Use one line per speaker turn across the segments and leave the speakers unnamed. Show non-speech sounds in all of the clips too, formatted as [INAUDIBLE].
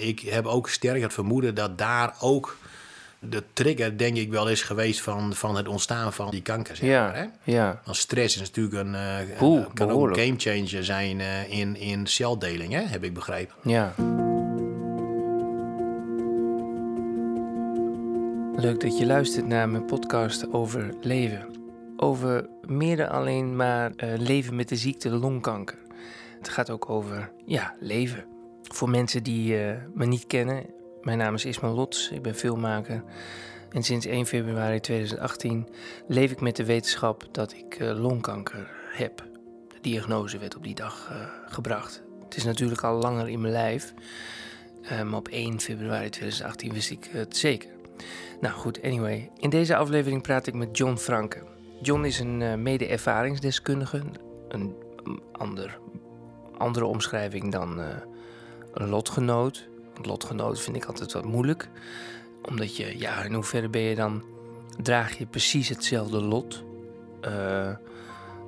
ik heb ook sterk het vermoeden dat daar ook de trigger, denk ik, wel is geweest van, van het ontstaan van die kanker. Zeg maar, hè?
Ja, ja.
Want stress is natuurlijk een, eh,
Oeh,
een- kan ook
behoorlijk.
een gamechanger zijn eh, in, in celdeling, hè? heb ik begrepen.
Ja. Leuk dat je luistert naar mijn podcast over leven. Over meer dan alleen maar eh, leven met de ziekte longkanker. Het gaat ook over, ja, leven. Voor mensen die eh, me niet kennen, mijn naam is Ismael Lots, ik ben filmmaker. En sinds 1 februari 2018 leef ik met de wetenschap dat ik eh, longkanker heb. De diagnose werd op die dag eh, gebracht. Het is natuurlijk al langer in mijn lijf. eh, Maar op 1 februari 2018 wist ik het zeker. Nou goed, anyway. In deze aflevering praat ik met John Franke. John is een eh, mede-ervaringsdeskundige. Een ander, andere omschrijving dan eh, een lotgenoot. Want lotgenoot vind ik altijd wat moeilijk. Omdat je, ja, in hoeverre ben je dan... Draag je precies hetzelfde lot? Eh,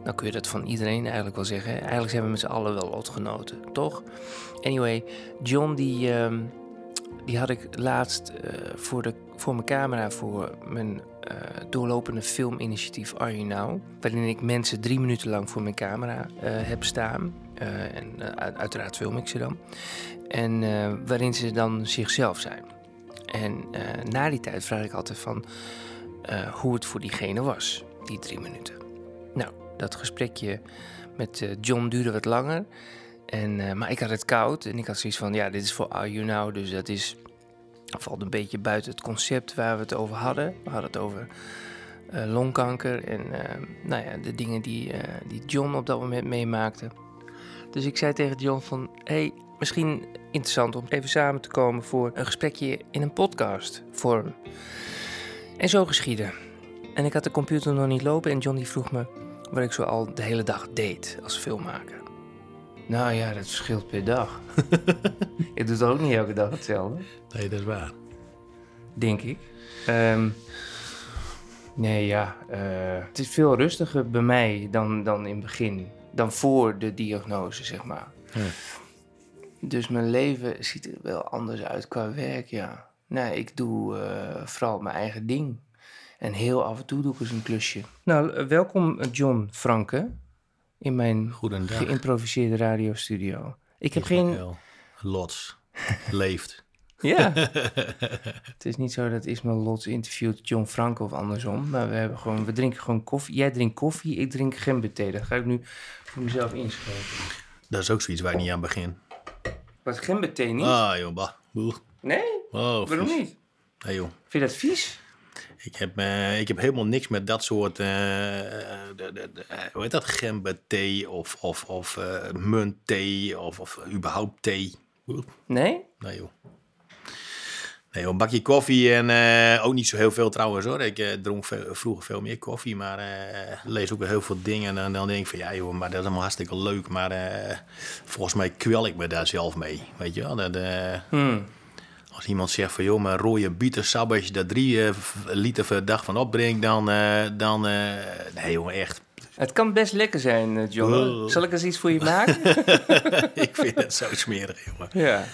dan kun je dat van iedereen eigenlijk wel zeggen. Eigenlijk zijn we met z'n allen wel lotgenoten, toch? Anyway, John die, ehm, die had ik laatst eh, voor, de, voor mijn camera voor mijn eh, doorlopende filminitiatief Are You Now. Waarin ik mensen drie minuten lang voor mijn camera eh, heb staan. Eh, en eh, uit- uiteraard film ik ze dan. En eh, waarin ze dan zichzelf zijn. En eh, na die tijd vraag ik altijd van eh, hoe het voor diegene was, die drie minuten. Nou, dat gesprekje met eh, John duurde wat langer. En, eh, maar ik had het koud en ik had zoiets van, ja, dit is voor Are You Now, dus dat is, valt een beetje buiten het concept waar we het over hadden. We hadden het over eh, longkanker en eh, nou ja, de dingen die, eh, die John op dat moment meemaakte. Dus ik zei tegen John van, hey, misschien interessant om even samen te komen voor een gesprekje in een podcast vorm. En zo geschiedde. En ik had de computer nog niet lopen en John die vroeg me wat ik zo al de hele dag deed als filmmaker. Nou ja, dat verschilt per [LAUGHS] dag. ik doe het ook niet elke dag hetzelfde,
Nee, dat is waar.
denk ik. Ehm, nee, ja. eh, het is veel rustiger bij mij dan, dan in het begin. Dan voor de diagnose, zeg maar.
Ja.
Dus mijn leven ziet er wel anders uit qua werk, ja. Nou, ik doe eh, vooral mijn eigen ding. En heel af en toe doe ik eens een klusje. Nou, eh, welkom eh, John Franke in mijn
Goedendag.
geïmproviseerde radiostudio. Ik heb geen...
Wel, Lots. Leeft.
Ja. het is niet zo dat Ismael Lots interviewt John Franco of andersom. Maar we, hebben gewoon, we drinken gewoon koffie. Jij drinkt koffie, ik drink gemberthee. Dat ga ik nu voor mezelf inschrijven.
[LAUGHS] Dat is ook zoiets waar ik niet aan begin.
Wat, gemberthee niet?
Ah, joh, bah. Boeh.
Nee?
Oh,
Waarom
vies.
niet?
Nee, joh.
Vind je dat vies?
Ik heb, eh, ik heb helemaal niks met dat soort, eh, eh, de- de- de- eh, hoe heet dat, gemberthee of, of, of eh, muntthee of, of überhaupt thee. Oeh,
Nee?
Nee joh. Nee joh, een bakje koffie en eh, ook niet zo heel veel trouwens hoor. Ik eh, dronk veel- vroeger veel meer koffie, maar eh, lees ook weer heel veel dingen. En dan- dan denk ik van ja joh, maar dat is allemaal hartstikke leuk. Maar eh, volgens mij kwel ik me daar zelf mee, weet je wel. Dat, eh,
Hmm.
als iemand zegt van joh, maar rode bietensabbers, als je daar drie eh, v- liter per dag van opbrengt, dan. eh, dan eh, nee, jongen, echt. [LAUGHS]
Het kan best lekker zijn, eh, John.
Oh.
Zal ik eens iets voor je
[LAUGHS]
maken?
ik vind het zo smerig, jongen.
ja.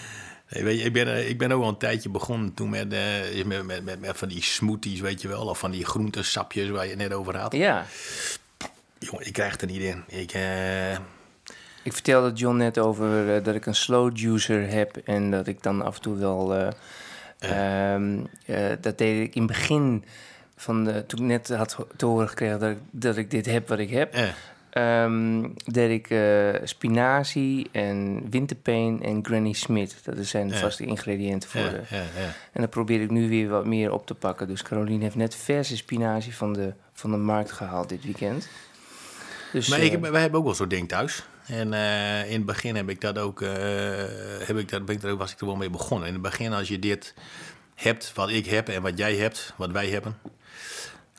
Nee, weet je, ik, ben, eh, ik ben ook al een tijdje begonnen toen met, eh, met, met, met, met van die smoothies, weet je wel, of van die groentesapjes waar je het net over had.
Ja.
Jongen, ik krijg het er niet in. Ik, eh,
Ik vertelde John net over eh, dat ik een slow juicer heb en dat ik dan af en toe wel. eh, ehm, eh, dat deed ik in het begin van de, toen ik net had ho- te horen gekregen dat ik, dat ik dit heb wat ik heb.
eh,
ehm, deed ik eh, spinazie en winterpeen en Granny Smith. Dat zijn de
Ja.
vaste ingrediënten voor. de-
eh, eh, eh.
en dat probeer ik nu weer wat meer op te pakken. Dus Caroline heeft net verse spinazie van de, van de markt gehaald dit weekend. Dus,
Maar
eh,
ik, wij hebben ook wel zo'n ding thuis. En eh, in het begin heb ik dat ook, eh, heb ik dat, ben ik daar ook, was ik er wel mee begonnen. In het begin, als je dit hebt, wat ik heb en wat jij hebt, wat wij hebben,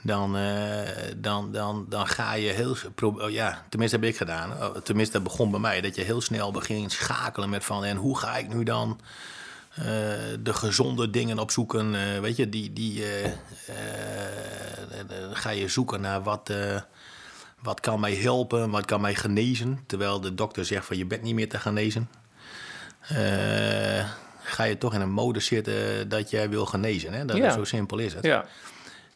dan, eh, dan, dan, dan ga je heel, s- pro- oh ja, tenminste heb ik gedaan, Oh, tenminste dat begon bij mij, dat je heel snel begint schakelen met van, en hoe ga ik nu dan eh, de gezonde dingen opzoeken, eh, weet je, die, die eh, eh, dan ga je zoeken naar wat... eh, wat kan mij helpen, wat kan mij genezen. Terwijl de dokter zegt van je bent niet meer te genezen. Eh, ga je toch in een mode zitten dat jij wil genezen. Hè? Dat
Ja.
Zo simpel is het.
Ja.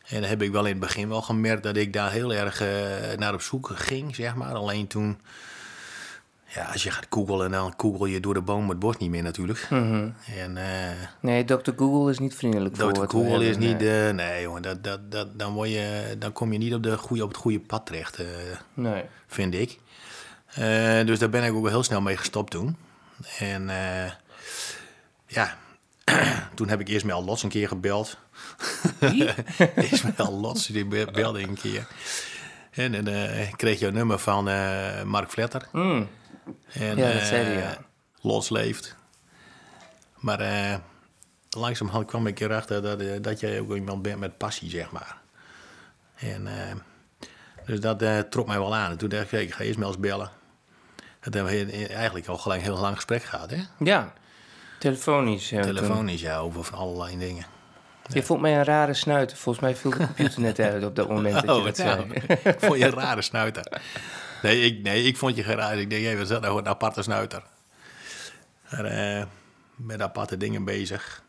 En dan heb ik wel in het begin wel gemerkt dat ik daar heel erg eh, naar op zoek ging, zeg maar. Alleen toen, ja, als je gaat googlen, dan google je door de boom het bos niet meer natuurlijk.
Mhm.
En eh
Nee, Dr. Google is niet vriendelijk voor
Dr.
wat we
Google is
hebben,
niet,
nee.
eh, nee jongen, dat, dat, dat, dan, word je, dan kom je niet op, de goede, op het goede pad terecht, eh,
Nee.
vind ik. Eh, dus daar ben ik ook wel heel snel mee gestopt toen. En eh, ja, [CLEARS THROAT] toen heb ik Ismael Lots een keer gebeld. [LAUGHS]
Wie?
Ismael Lots, die be- belde een keer. En dan eh, kreeg je een nummer van eh, Mark Vletter.
Mm.
En,
Ja, dat zei
eh,
hij, ja.
Lots leeft. Maar eh, langzamerhand kwam ik erachter dat, eh, dat jij ook iemand bent met passie, zeg maar. En, eh, dus dat eh, trok mij wel aan. En toen dacht ik, hey, ik ga eerst maar eens bellen. En toen hebben we in- in- eigenlijk al gelijk een heel lang gesprek gehad, hè?
Ja. Telefonisch. ja, toen.
Telefonisch, ja, over van allerlei dingen.
Je vond mij een rare snuiter. Volgens mij viel de computer net uit op dat
[LAUGHS]
moment dat je dat
nou,
zei.
ik vond je een rare snuiter. Nee, ik, nee, ik vond je geen raar. Ik denk, hé, wat is dat nou voor een aparte snuiter? Maar, eh, met aparte dingen bezig.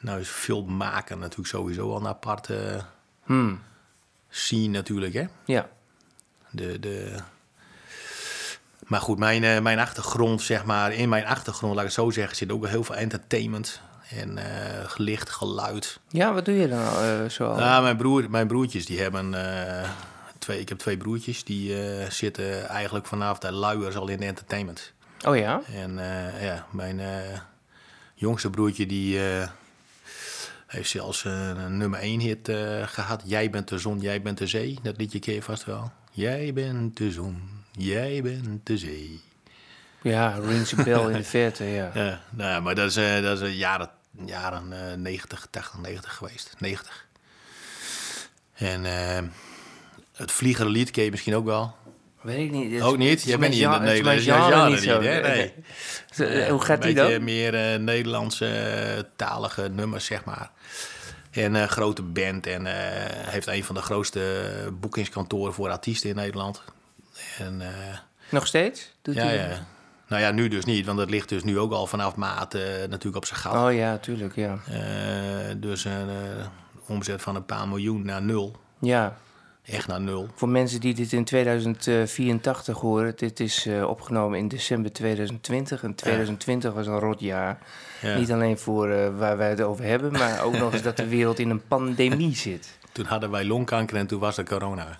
Nou is film maken natuurlijk sowieso al een aparte
Hmm.
scene natuurlijk, hè?
Ja.
De, de... Maar goed, mijn, eh, mijn achtergrond, zeg maar, in mijn achtergrond, laat ik het zo zeggen, zit ook wel heel veel entertainment. En eh, licht, geluid.
ja, wat doe je dan eh zo al?
Ja, mijn, broer, mijn broertjes die hebben. eh, twee, ik heb twee broertjes die eh, zitten eigenlijk vanaf de luiers al in de entertainment.
oh ja?
En eh, ja, mijn eh, jongste broertje die. eh, heeft zelfs een, een nummer 1 hit eh, gehad. Jij bent de zon, jij bent de zee. Dat liedje ken je vast wel. Jij bent de zon, jij bent de zee.
Ja, rings a bell in de verte, ja.
Ja, nou ja, maar dat is, eh, dat is eh, jaren, jaren eh 90, 80, 90 geweest. 90. En eh, het Vliegende Lied ken je misschien ook wel.
Weet ik niet. het is-
ook
het
niet?
is
Jij
mijn
bent niet in de
gen- het is mijn
Nederlandse genre niet,
genre
hè?
zo.
Nee.
Eh, Hoe gaat die
Een beetje
dan?
meer eh, Nederlandse eh, talige nummers, zeg maar. En een grote band en eh, heeft een van de grootste boekingskantoren voor artiesten in Nederland. En eh,
Nog steeds? Doet
ja,
hij dat?
ja. Nou ja, nu dus niet, want dat ligt dus nu ook al vanaf maart eh, natuurlijk op zijn gat.
Oh ja, tuurlijk, ja.
Eh, dus een eh, omzet van een paar miljoen naar nul.
Ja,
Echt naar nul.
voor mensen die dit in 2084 horen, dit is eh, opgenomen in december 2020. En 2020 was een rot jaar.
Ja.
Niet alleen voor eh, waar wij het over hebben, maar ook nog eens dat de wereld in een pandemie zit.
Toen hadden wij longkanker en toen was er corona.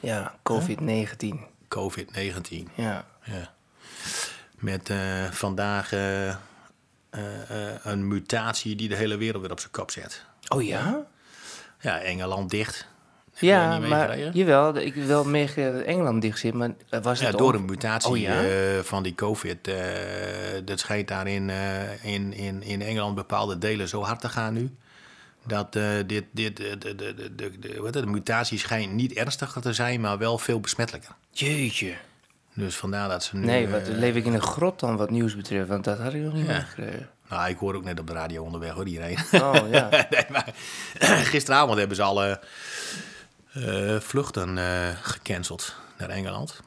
Ja, COVID-19.
COVID-19.
Ja.
Ja. Met eh, vandaag eh, eh, eh, een mutatie die de hele wereld weer op zijn kop zet.
Oh ja?
Ja, Engeland dicht. je dat
Ja,
niet
maar
meegekregen?
jawel, ik heb wel meegekregen dat Engeland dicht zit, maar eh, was
Ja,
het
door
ook-
een mutatie
Oh, ja?
eh, van die COVID. eh, dat schijnt daar in, eh, in, in, in Engeland bepaalde delen zo hard te gaan nu. Dat eh, dit, dit, eh, de, de, de, de, de- wat het, de mutatie schijnt niet ernstiger te zijn, maar wel veel besmettelijker.
Jeetje.
Dus vandaar dat ze nu...
Nee,
eh,
wat, leef ik in een grot dan wat nieuws betreft, want dat had ik nog niet
Ja.
meegekregen.
nou, ik hoor ook net op de radio onderweg hoor, iedereen. [LAUGHS]
Oh ja.
nee, maar [CLEARS THROAT] gisteravond hebben ze alle eh, vluchten eh, gecanceld naar Engeland.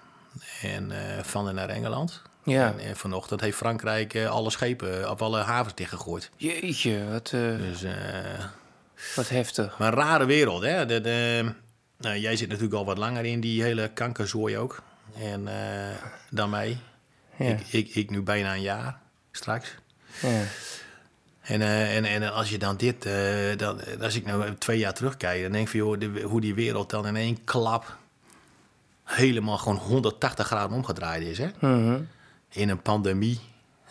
En eh, van en naar Engeland.
Ja.
En eh, vanochtend heeft Frankrijk eh, alle schepen op alle havens dichtgegooid.
Jeetje, wat, eh,
Dus, eh,
wat heftig.
maar een rare wereld, hè? De, de- nou, jij zit natuurlijk al wat langer in die hele kankerzooi ook. En eh, dan mij.
Ja.
Ik, ik, ik nu bijna een jaar straks.
ja.
En, eh, en, en als je dan dit, eh, dan, als ik nou twee jaar terugkijk, dan denk ik van joh, de- hoe die wereld dan in één klap helemaal gewoon 180 graden omgedraaid is. Hè?
Mhm.
In een pandemie,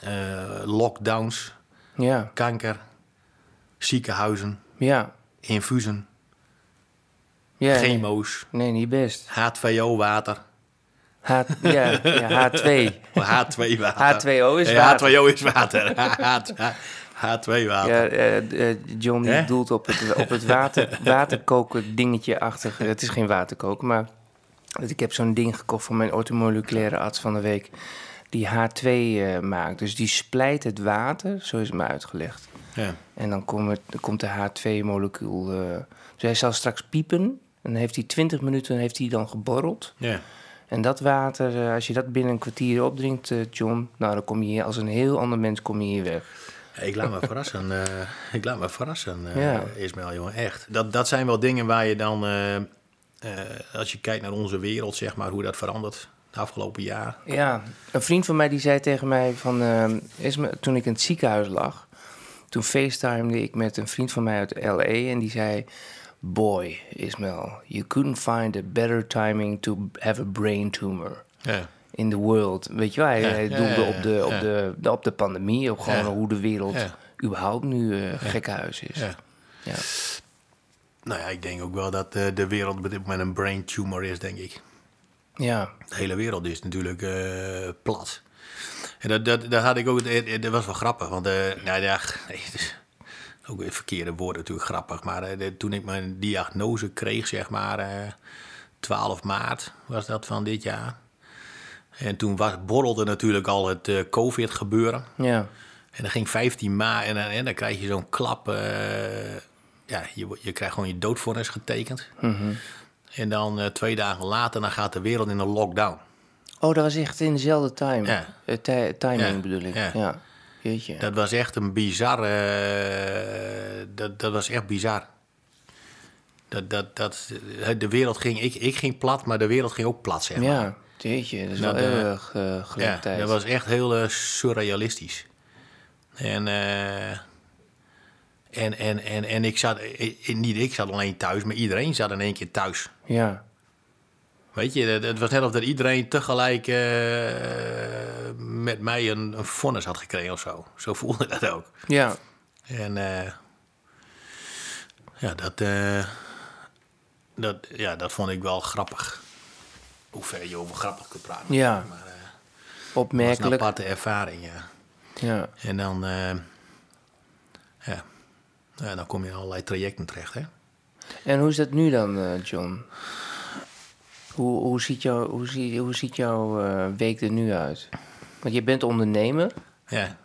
eh, lockdowns,
ja.
kanker, ziekenhuizen,
Ja.
infusen,
ja. nee.
chemo's,
Nee, niet best.
[LAUGHS] H2O-water.
H, ja, ja, H2.
H2-water.
H2O is water.
H2O is water. [LAUGHS] H2-water.
[LAUGHS] Ja, eh, eh, John die
Hè?
doelt op het, op het water, [LAUGHS] waterkoken dingetje-achtig. Het is geen waterkoken, maar ik heb zo'n ding gekocht van mijn ortomoleculaire arts van de week. Die H2 eh, maakt. Dus die splijt het water, zo is het me uitgelegd.
Ja.
En dan, komt het, dan komt de H2-molecuul. eh, dus hij zal straks piepen. En dan heeft hij 20 minuten heeft hij dan geborreld.
Ja.
En dat water, eh, als je dat binnen een kwartier opdrinkt, eh, John, nou dan kom je hier als een heel ander mens kom je hier weg.
Ik laat me [LAUGHS] verrassen. eh, ik laat me verrassen, eh,
Ja.
Ismaël, jongen. Echt. Dat, dat zijn wel dingen waar je dan... eh, eh, als je kijkt naar onze wereld, zeg maar, hoe dat verandert de afgelopen jaar.
Ja, een vriend van mij die zei tegen mij van, ehm, is me, toen ik in het ziekenhuis lag, toen facetimede ik met een vriend van mij uit LA en die zei, boy Ismail, you couldn't find a better timing to have a brain tumor
Ja.
in the world. Weet je wel, hij,
Ja,
hij
ja,
doelde
ja,
op de, op,
ja.
de, de- op de pandemie, op gewoon
Ja.
hoe de wereld
Ja.
überhaupt nu eh gekkenhuis is.
ja.
Ja.
Nou ja, ik denk ook wel dat eh, de wereld op dit moment een brain tumor is, denk ik.
ja,
De hele wereld is natuurlijk eh, plat. En dat, dat, daar had ik ook... eh, eh, Dat was wel grappig, want... eh nou ja, [LAUGHS] nee, het is ook weer verkeerde woorden natuurlijk, grappig. Maar eh, de- toen ik mijn diagnose kreeg, zeg maar... eh, 12 maart was dat van dit jaar. En toen was, borrelde natuurlijk al het eh, COVID-gebeuren.
ja,
En dan ging 15 maart en, dan- en dan krijg je zo'n klap. eh, ja, je, wo- je krijgt gewoon je doodvonnis getekend. En dan eh, twee dagen later, dan gaat de wereld in een lockdown.
Oh, dat was echt in dezelfde time.
Ja.
Eh, ti- timing
Ja,
bedoel ik. Ja.
ja.
Jeetje.
Dat was echt een bizar. eh, dat, dat was echt bizar. Dat, dat, dat, de wereld ging, ik, ik ging plat, maar de wereld ging ook plat, zeg maar.
ja, jeetje. Dat is
Nou,
wel
de-
erg eh gelijktijdig.
dat was echt heel eh, surrealistisch. En, eh, en, en, en, en ik zat, eh, eh, niet ik zat alleen thuis, maar iedereen zat in één keer thuis.
Ja,
Weet je, het- het was net of dat iedereen tegelijk eh, met mij een, een vonnis had gekregen of zo. Zo voelde dat ook.
ja,
En eh, ja, dat, eh, dat, ja, dat vond ik wel grappig. Hoe ver je over grappig kunt praten.
Ja.
Maar eh, het was een
opmerkelijk.
aparte ervaring, ja.
Ja,
En dan, eh, ja. Ja, dan kom je in allerlei trajecten terecht, hè?
en hoe is dat nu dan, eh, John? Hoe, hoe ziet, jou, hoe zie, hoe ziet jouw eh, week er nu uit? Want je bent ondernemer.
Ja.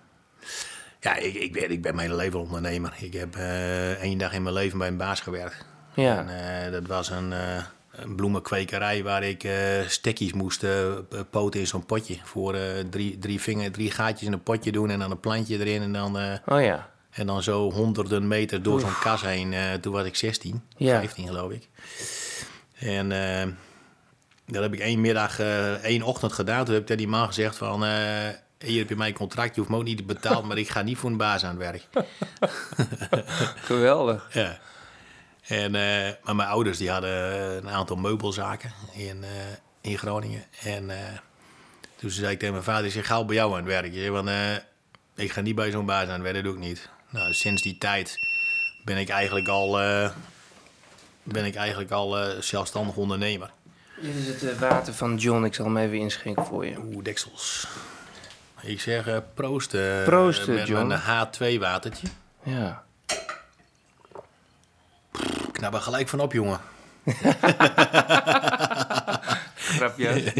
Ja, ik, ik, ben, ik ben mijn hele leven ondernemer. Ik heb eh, één dag in mijn leven bij een baas gewerkt.
Ja.
En, eh, dat was een, eh, een bloemenkwekerij waar ik eh stekkies moest eh, p- poten in zo'n potje. Voor eh, drie, drie, vinger, drie gaatjes in een potje doen en dan een plantje erin. En dan, eh,
Oh ja.
en dan zo honderden meter door zo'n kas heen. eh, toen was ik 16,
Ja.
15 geloof ik. En eh, dat heb ik één middag, eh, één ochtend gedaan. Toen heb ik tegen die man gezegd van... eh, hier heb je mijn contract, je hoeft me ook niet te betalen... maar ik ga niet voor een baas aan het werk.
Geweldig.
Ja. En, eh, maar mijn ouders die hadden eh, een aantal meubelzaken in, eh, in Groningen. En eh, toen zei ik tegen mijn vader, ik zeg, gauw bij jou aan het werk. Ik zeg, want eh, ik ga niet bij zo'n baas aan het werk, dat doe ik niet. Nou, sinds die tijd ben ik eigenlijk al, eh, ben ik eigenlijk al eh, zelfstandig ondernemer.
Dit is het eh, water van John. Ik zal hem even inschenken voor je.
Oeh, deksels. Ik zeg, eh, proost. eh,
Proost,
met
John.
een H2-watertje.
Ja.
Knap er gelijk van op, jongen. [LAUGHS]
Grapje.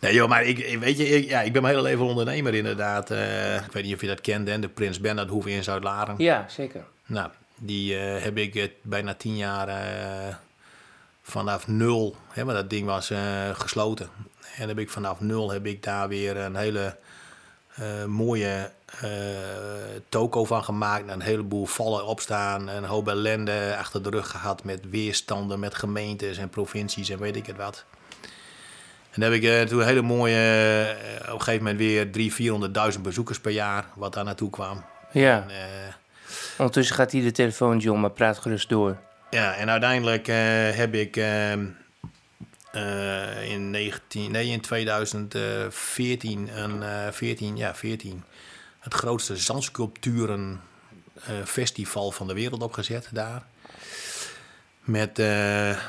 Nee joh, maar ik, ik- weet je, ik, ja, ik ben mijn hele leven ondernemer inderdaad. Eh, ik weet niet of je dat kent, hè? de Prins Bernhard Hoeve in Zuid-Laren.
Ja, zeker.
Nou, die eh, heb ik eh, bijna tien jaar eh, vanaf nul, hè, want dat ding was eh, gesloten. En heb ik vanaf nul heb ik daar weer een hele eh, mooie eh, toko van gemaakt. Een heleboel vallen opstaan, een hoop ellende achter de rug gehad met weerstanden met gemeentes en provincies en weet ik het wat. En dan heb ik eh, toen een hele mooie, eh, op een gegeven moment weer 300.000, 400.000 bezoekers per jaar, wat daar naartoe kwam.
Ja.
En, eh,
Ondertussen gaat hij de telefoon, John, maar praat gerust door.
Ja, en uiteindelijk eh, heb ik ehm, eh, in, 19, nee, in 2014, een, eh, 14, ja, 14, het grootste zandsculpturen eh, festival van de wereld opgezet daar. Met eh,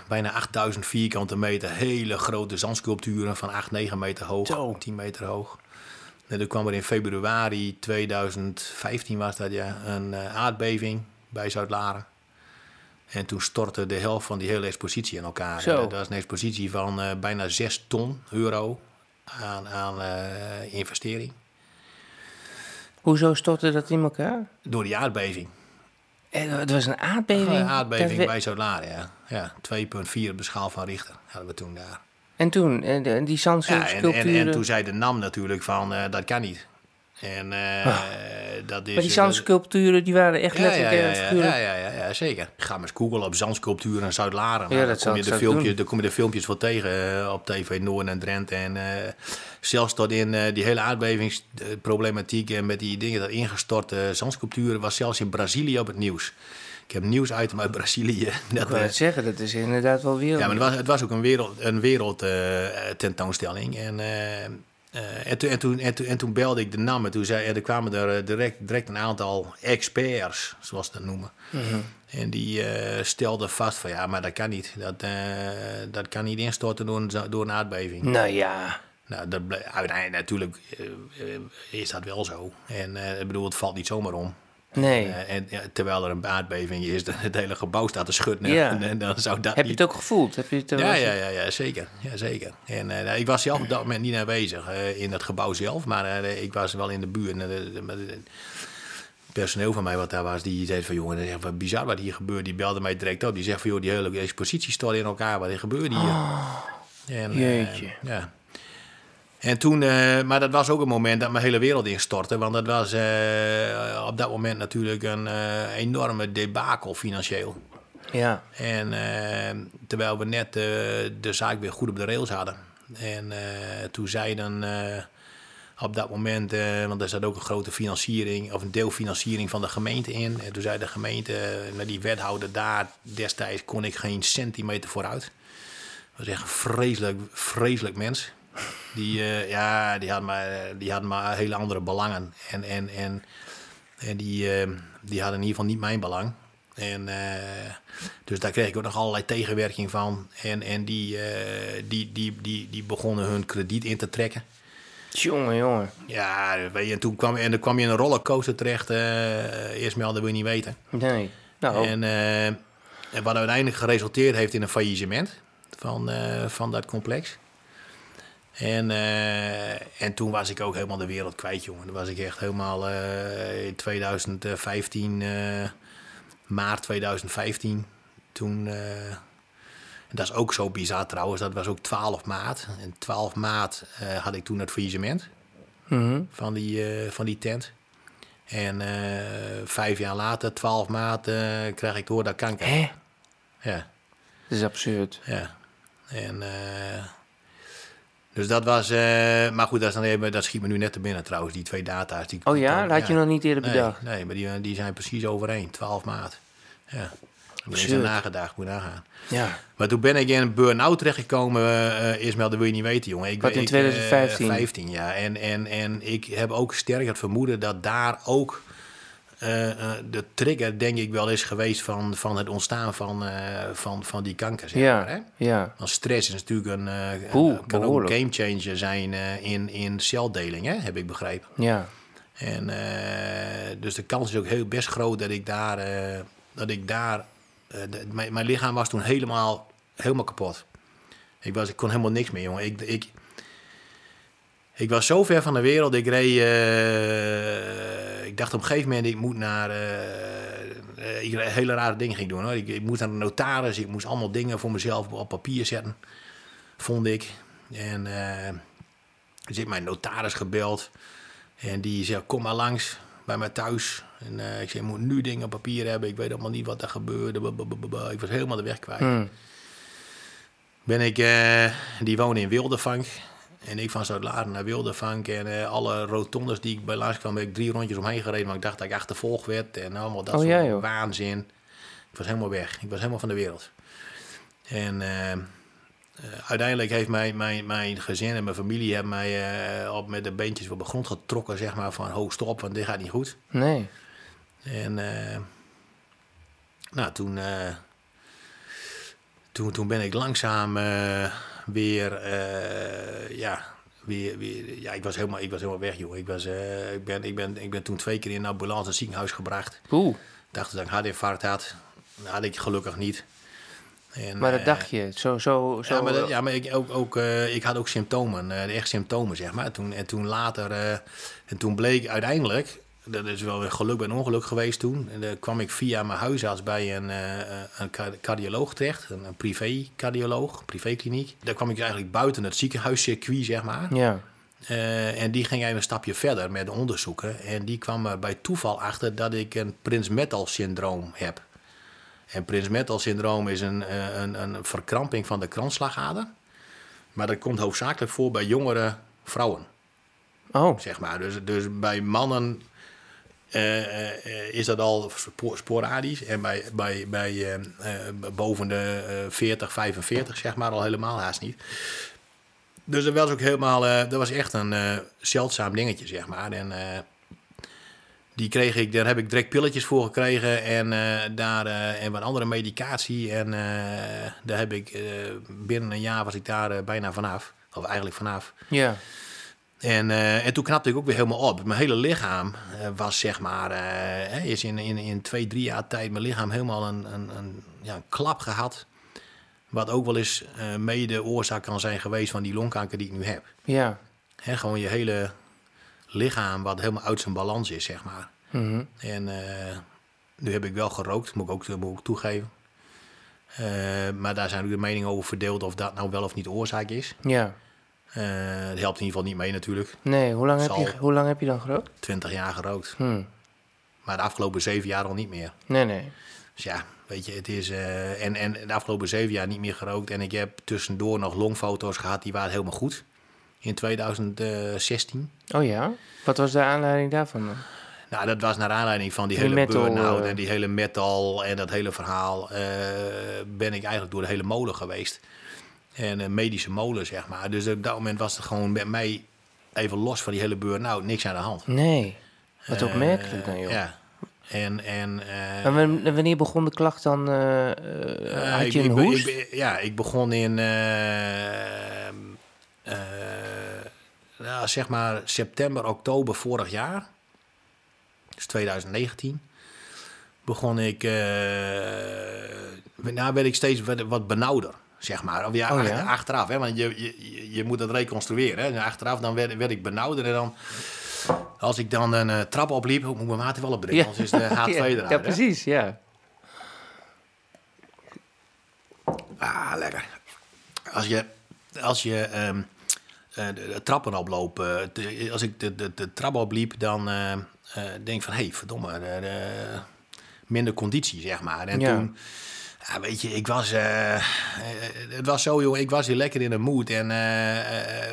bijna 8000 vierkante meter hele grote zandsculpturen van 8, 9 meter hoog,
Zo.
10 meter hoog. En toen kwam er in februari 2015 was dat ja, een eh, aardbeving bij Zuid-Laren. En toen stortte de helft van die hele expositie in elkaar.
Zo.
En Dat was een expositie van eh, bijna 6 ton euro aan, aan eh, investering.
Hoezo stortte dat in elkaar?
Door die aardbeving.
Eh, Het was een aardbeving.
Een aardbeving
Dat we-
bij Zuid-Laren, ja. ja 2,4 op de schaal van Richter hadden we toen daar.
En toen, eh, de- die
Ja, en, en,
zandsculpturen.
en toen zei de NAM natuurlijk van, eh, dat kan niet. En eh,
Ah.
dat is...
Maar die
dat-
zandsculpturen die waren echt
ja, ja,
letterlijk eh,
ja,
en
ja,
figuurlijk.
ja, ja, ja, ja, zeker. Ga maar eens googlen op zandsculpturen in Zuid-Laren.
Ja,
Nou,
dat
dan,
zou
kom je
ik
de
zo
filmpjes,
doen.
dan kom je de filmpjes wel tegen eh, op TV Noord en Drenthe. En eh, zelfs tot in eh, die hele aardbevingsproblematiek en met die dingen, dat ingestorte zandsculpturen, was zelfs in Brazilië op het nieuws. Ik heb een nieuwsitem uit Brazilië. [LAUGHS]
Ik
Dat,
wil
eh,
het zeggen, dat is inderdaad wel wereld.
ja, maar het was, het was ook een wereld, een wereld eh, tentoonstelling. En, eh, eh, en, toen- en, toen, en, toen, en toen belde ik de naam en toen zei, en er kwamen er eh, direct, direct een aantal experts, zoals ze dat noemen.
Mhm.
En die eh, stelden vast van ja, maar dat kan niet. Dat, eh, dat kan niet instorten door een, za- door een aardbeving.
Nou ja,
Nou, dat ble- uiteindelijk natuurlijk eh, eh, is dat wel zo. En eh, ik bedoel, het valt niet zomaar om.
nee.
Eh, en ja, terwijl er een aardbeving is, [LAUGHS] dat het hele gebouw staat te schudden.
Ja.
En, eh, dan zou dat
Heb je
niet
het ook gevoeld? Heb je het eh, er wel
ja,
eens-
ja, ja, ja, zeker. Ja, zeker. En eh, nou, ik was zelf op dat moment niet aanwezig eh, in dat gebouw zelf, maar eh, ik was wel in de buurt. En, eh, maar, eh, personeel van mij wat daar was, die zei van jongen, dat is echt wat bizar wat hier gebeurt. Die belde mij direct op. Die zegt van joh, die hele expositie stort in elkaar. Wat gebeurt hier? en, eh,
Oh, jeetje.
ja. En toen, eh, maar dat was ook een moment dat mijn hele wereld instortte. Want dat was eh, op dat moment natuurlijk een eh, enorme debakel financieel.
Ja.
En eh, terwijl we net eh, de zaak weer goed op de rails hadden. En eh, toen zei dan eh, op dat moment, eh, want er zat ook een grote financiering, of een deelfinanciering van de gemeente in. En toen zei de gemeente, eh, met die wethouder daar destijds kon ik geen centimeter vooruit. Dat was echt een vreselijk, vreselijk mens. Die, eh, ja, die, had maar, die had maar hele andere belangen. En, en, en, en die, eh, die hadden in ieder geval niet mijn belang. En, eh, dus daar kreeg ik ook nog allerlei tegenwerking van. En, en die, eh, die, die, die, die begonnen hun krediet in te trekken.
Jongen, jongen.
Ja, weet je, en toen kwam, en dan kwam je in een rollercoaster terecht. eh eerst melden wil je niet weten.
Nee. Nou,
En, eh, en wat uiteindelijk geresulteerd heeft in een faillissement van, eh, van dat complex. En, eh, en toen was ik ook helemaal de wereld kwijt, jongen. Toen was ik echt helemaal eh, in 2015, eh, maart 2015. Toen, eh, en dat is ook zo bizar trouwens, dat was ook 12 maart. En 12 maart eh, had ik toen het faillissement
mhm.
van die, eh, van die tent. En eh, vijf jaar later, 12 maart, eh krijg ik te horen dat ik kanker. heb.
Hè?
Ja,
Dat is absurd.
ja. En, eh, dus dat was... eh, maar goed, dat, is dan even, dat schiet me nu net te binnen trouwens, die twee data's. Die,
Oh ja,
die-
dat had je nog niet eerder
nee,
bedacht.
Nee, maar die, die zijn precies overeen, 12 maart. Ja. Daar heb ik eens aan
Absurd.
nagedacht, moet je nagaan.
Ja.
Maar toen ben ik in een burn-out terechtgekomen, eh, eh, Ismael, dat wil je niet weten, jongen. Ik,
Wat in
ik, eh,
2015?
15, ja. En, en, en ik heb ook sterk het vermoeden dat daar ook eh, eh, de trigger, denk ik, wel is geweest van, van het ontstaan van, eh, van, van die kanker. Zeg maar, hè?
Ja. Ja.
Want stress is natuurlijk een, eh
Oeh,
een- kan ook
behoorlijk.
een gamechanger zijn eh, in, in celdeling, hè, heb ik begrepen.
Ja.
En, eh, dus de kans is ook heel best groot dat ik daar. eh, dat ik daar eh, dat- mijn, mijn lichaam was toen helemaal, helemaal kapot. Ik, was, ik kon helemaal niks meer, jongen. Ik, ik, ik was zo ver van de wereld. Ik reed. eh, ik dacht op een gegeven moment, ik moet naar. eh, eh, ik re- hele rare dingen ging doen hoor. Ik, ik moest naar de notaris. Ik moest allemaal dingen voor mezelf op, op papier zetten. Vond ik. En. eh, dus ik heb mijn notaris gebeld. En die zei, kom maar langs bij mij thuis. En eh, ik zei, ik moet nu dingen op papier hebben. Ik weet allemaal niet wat er gebeurde. Blablabla. Ik was helemaal de weg kwijt.
Hm.
Ben ik, eh, die woonde in Wildevank. En ik van Zuid-Laren naar Wildevank. En eh, alle rotondes die ik bij langs kwam, ben ik drie rondjes omheen gereden. Want ik dacht dat ik achtervolgd werd. En allemaal dat
Oh,
soort
ja, joh.
waanzin. Ik was helemaal weg. Ik was helemaal van de wereld. En eh, eh, uiteindelijk heeft mijn, mijn, mijn gezin en mijn familie hebben mij eh, op, met de beentjes op de grond getrokken. Zeg maar van, ho, stop, want dit gaat niet goed.
Nee.
En eh, nou, toen, eh, toen, toen ben ik langzaam eh, weer, eh, ja, weer, weer, ja, ik was helemaal, ik was helemaal weg, joh. Ik, was, eh, ik, ben, ik, ben, ik ben toen twee keer in een ambulance naar het ziekenhuis gebracht.
Oeh.
Dacht dat ik een hartinfarct had. Dat had ik gelukkig niet. En,
Maar dat
eh,
dacht je. Zo, zo, zo.
ja, maar, dat- ja, maar ik, ook, ook, eh, ik had ook symptomen, eh, echt symptomen, zeg maar. Toen, en toen later, eh, en toen bleek uiteindelijk, dat is wel weer geluk bij een ongeluk geweest toen, en, daar kwam ik via mijn huisarts bij een, eh, eh, een ca- cardioloog terecht, een, een privé-cardioloog, privékliniek. Daar kwam ik eigenlijk buiten het ziekenhuiscircuit, zeg maar.
Ja.
Eh, en die ging even een stapje verder met onderzoeken. En die kwam er bij toeval achter dat ik een Prins Metal syndroom heb. En Prins Metal syndroom is een, eh, een, een verkramping van de kransslagader. Maar dat komt hoofdzakelijk voor bij jongere vrouwen
Oh,
zeg maar. Dus, dus bij mannen eh, eh, eh, is dat al spo- sporadisch. En bij, bij, bij eh, eh, boven de eh, 40, 45, zeg maar, al helemaal haast niet. Dus dat was ook helemaal, eh, dat was echt een eh, zeldzaam dingetje, zeg maar. En eh, die kreeg ik, daar heb ik direct pilletjes voor gekregen en, eh, daar, eh, en wat andere medicatie. En eh, daar heb ik, eh, binnen een jaar was ik daar eh, bijna vanaf. Of eigenlijk vanaf.
ja.
En, eh, en toen knapte ik ook weer helemaal op. Mijn hele lichaam eh, was zeg maar, eh, hè, is in, in, in twee, drie jaar tijd mijn lichaam helemaal een, een, een, ja, een klap gehad. Wat ook wel eens eh, mede oorzaak kan zijn geweest van die longkanker die ik nu heb.
Ja.
Hè, gewoon je hele lichaam wat helemaal uit zijn balans is, zeg maar.
Mhm.
En eh, nu heb ik wel gerookt, moet ik ook, moet ik ook toegeven. Eh, maar daar zijn ook de meningen over verdeeld of dat nou wel of niet oorzaak is.
Ja.
Eh, het helpt in ieder geval niet mee natuurlijk.
Nee, hoe lang, heb
Zal.
je, hoe lang heb je dan gerookt?
20 jaar gerookt.
Hm.
Maar de afgelopen zeven jaar al niet meer.
Nee, nee.
Dus ja, weet je, het is. eh, en, en de afgelopen zeven jaar niet meer gerookt. En ik heb tussendoor nog longfoto's gehad, die waren helemaal goed. In 2016.
Oh ja? Wat was de aanleiding daarvan dan?
Nou, dat was naar aanleiding van die
Die
hele
metal,
burn-out
eh.
en die hele metal en dat hele verhaal. eh, ben ik eigenlijk door de hele molen geweest. En een medische molen, zeg maar. Dus op dat moment was het gewoon met mij even los van die hele burn-out, niks aan de hand.
Nee. Wat
Eh,
opmerkelijk dan, joh.
Ja. En, en, eh,
En wan- wanneer begon de klacht dan? eh, eh,
Eh,
had
ik-
je
ik
een
be-
hoest? [LAUGHS]
ik be- ja, ik begon in. eh, eh, nou, zeg maar september, oktober vorig jaar. Dus 2019. Begon ik. eh nou werd ik steeds wat, wat benauwder. Zeg maar. Of ja,
Oh,
ach-
ja?
achteraf. Hè, want je, je- je, je moet dat reconstrueren. Hè. En achteraf dan werd, werd ik benauwder. En dan, als ik dan een eh, trap opliep, moet mijn maat er wel op drinken.
Ja.
Anders
[LAUGHS]
is de H2
ja,
eruit.
ja,
hè.
precies, ja.
Ah, lekker. Als je, als je ehm, eh, de, de trappen oploopt, eh, de- als ik de, de, de trap opliep, dan eh, eh, denk ik van, hé, hey, verdomme, eh, eh, minder conditie, zeg maar. En
Ja.
toen, ja, weet je, ik was, eh, eh, het was zo, joh, ik was hier lekker in de mood. En, eh,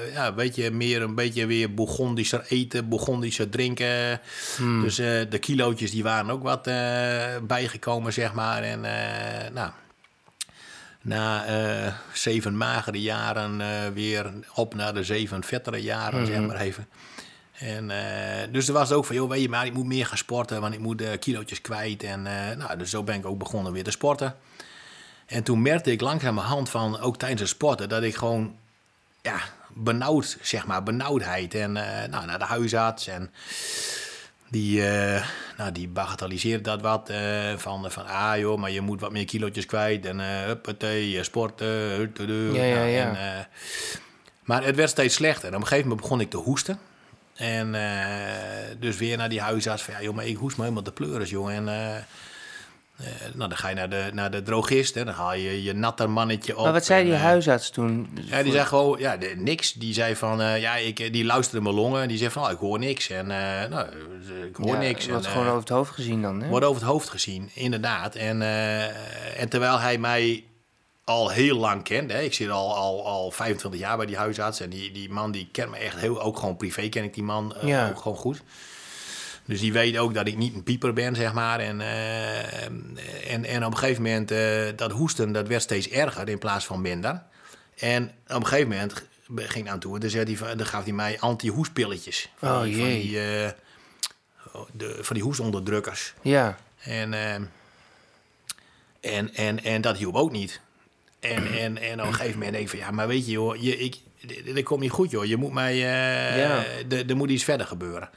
eh, ja, weet je, meer een beetje weer Bourgondischer eten, Bourgondischer drinken. Dus eh, de kilootjes, die waren ook wat eh, bijgekomen, zeg maar. En, eh, nou na eh, zeven magere jaren eh, weer op naar de zeven vettere jaren, zeg maar even. En, eh, dus er was ook van, joh, weet je maar, ik moet meer gaan sporten, want ik moet eh, kilootjes kwijt. En, eh, nou, dus zo ben ik ook begonnen weer te sporten. En toen merkte ik langzamerhand van, ook tijdens het sporten, dat ik gewoon, ja, benauwd, zeg maar, benauwdheid. En eh, nou, naar de huisarts en die, eh, nou, die bagatelliseert dat wat. eh, van, van, ah joh, maar je moet wat meer kilootjes kwijt. En eh huppatee, eh, sporten. huttedu.
Ja, ja,
Nou,
ja.
en, eh, maar het werd steeds slechter. En op een gegeven moment begon ik te hoesten. En eh, dus weer naar die huisarts. Van, ja joh, maar ik hoest me helemaal de pleuris, joh. En... eh, eh, nou, dan ga je naar de, naar de drogist en dan haal je je natter mannetje op.
Maar wat zei
en,
die
eh,
huisarts toen?
ja, die zei gewoon ja, de- niks. Die zei van, eh, ja, ik, eh, die luisterde mijn longen. En die zei van, oh, ik hoor niks. En eh, nou, eh, ik hoor
Ja,
niks.
Wat
en,
gewoon
eh,
over het hoofd gezien dan, hè?
wordt over het hoofd gezien, inderdaad. En, eh, en terwijl hij mij al heel lang kent. Hè, ik zit al, al, al 25 jaar bij die huisarts. En die, die man die kent me echt heel... Ook gewoon privé ken ik die man eh,
Ja.
ook gewoon goed. Dus die weet ook dat ik niet een pieper ben, zeg maar. En, eh, en, en op een gegeven moment, eh, dat hoesten, dat werd steeds erger in plaats van minder. En op een gegeven moment ging ik aan toe. En dan, zei hij van- dan gaf hij mij anti-hoespilletjes. Van
Oh,
die, van
jee.
die, eh, de, van die hoesonderdrukkers.
Ja,
En, ehm, en, en, en dat hielp ook niet. En, en, en op een gegeven moment denk ik van... Ja, maar weet je, joh, je, ik, dit, dit komt niet goed, joh. Je moet mij... eh,
Ja.
d- Er moet iets verder gebeuren.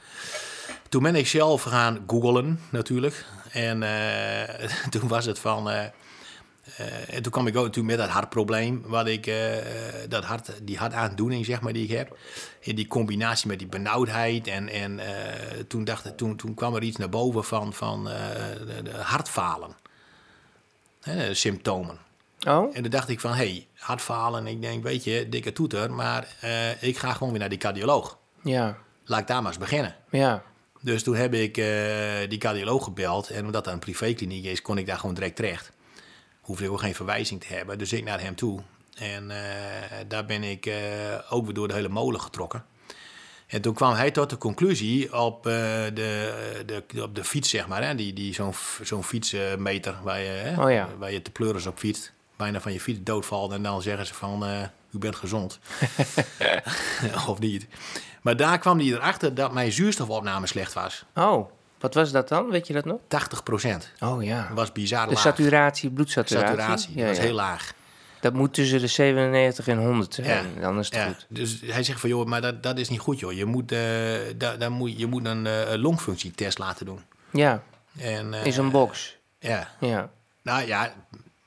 Toen ben ik zelf gaan googlen, natuurlijk. En eh, [LAUGHS] toen was het van... eh, eh, en toen kwam ik ook natuurlijk met dat hartprobleem, wat ik, eh, dat hart, die hartaandoening zeg maar, die ik heb. In die combinatie met die benauwdheid. En, en eh, toen, dacht, toen, toen kwam er iets naar boven van, van eh, de- de hartfalen. Hè, de symptomen.
oh?
En toen dacht ik van, hé, hey, hartfalen. Ik denk, weet je, dikke toeter, maar eh, ik ga gewoon weer naar die cardioloog.
ja,
Laat ik daar maar eens beginnen.
ja.
Dus toen heb ik eh, die cardioloog gebeld. En omdat dat een privékliniek is, kon ik daar gewoon direct terecht. Hoefde ik ook geen verwijzing te hebben. Dus ik naar hem toe. En eh, daar ben ik eh, ook weer door de hele molen getrokken. En toen kwam hij tot de conclusie op, eh, de, de, op de fiets, zeg maar. Hè? Die, die, Zo'n zo'n fietsmeter waar je, hè,
Oh ja.
waar je te pleuris op fietst. Bijna van je fiets doodvalt. En dan zeggen ze van, eh, u bent
[LAUGHS]
gezond. [LAUGHS] of niet. Maar daar kwam hij erachter dat mijn zuurstofopname slecht was.
Oh, wat was dat dan? Weet je dat nog?
80 procent.
Oh ja.
was bizar
De
laag.
saturatie, bloedsaturatie.
Saturatie,
Ja,
dat was
ja.
heel laag.
Dat moet tussen de 97 en 100 zijn.
Ja,
Dan is het
ja.
goed.
Dus hij zegt van, joh, maar dat, dat is niet goed, joh. Je moet, eh, da- daar moet, je moet een eh, longfunctietest laten doen.
Ja,
En, eh,
is een box.
Ja,
Ja.
nou ja...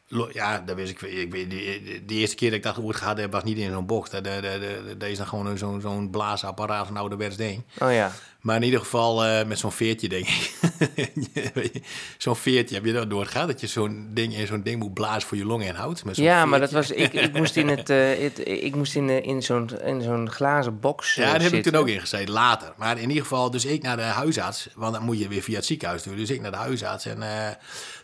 lo- Ja, dat wist ik. ik weet- die, die eerste keer dat ik dat woord gehad heb, was niet in zo'n box. Dat, dat, dat, dat- dat is dan gewoon een- zo'n zo'n blaasapparaat, een ouderwets ding.
Oh ja.
Maar in ieder geval eh, met zo'n veertje, denk ik. [LAUGHS] Weet je, zo'n veertje, heb je dat nooit gehad? Dat je zo'n ding in zo'n ding moet blazen voor je longen en houdt? Met zo'n
Ja, maar dat
veertje?
was. Ik, ik moest in, het, eh, het- ik moest in, eh, in zo'n in zo'n glazen box.
Ja,
eh,
daar heb ik
zitten.
toen ook in gezeten, later. Maar in ieder geval, dus ik naar de huisarts. Want dan moet je weer via het ziekenhuis doen. Dus ik naar de huisarts. En, eh,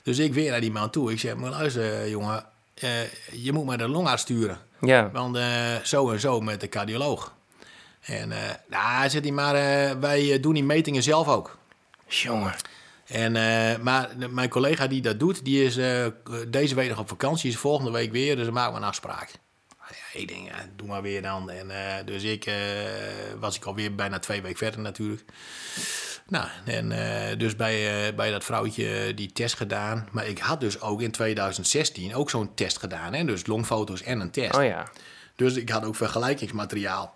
dus ik weer naar die man toe. Ik zeg, maar luister, jongen. eh, je moet maar de longarts sturen.
Ja.
Want eh, zo en zo met de cardioloog. En eh nou, zegt hij, maar eh, wij eh, doen die metingen zelf ook.
Jongen.
En, eh, maar de- mijn collega die dat doet, die is eh, deze week nog op vakantie, is volgende week weer, dus dan maken we een afspraak. Ah, Ja, ik denk, ja, doe maar weer dan. En, eh, dus ik eh, was ik alweer bijna twee weken verder natuurlijk. Nou, en eh, dus bij, eh, bij dat vrouwtje die test gedaan. Maar ik had dus ook in 2016 ook zo'n test gedaan. Hè? Dus longfoto's en een test.
Oh ja.
Dus ik had ook vergelijkingsmateriaal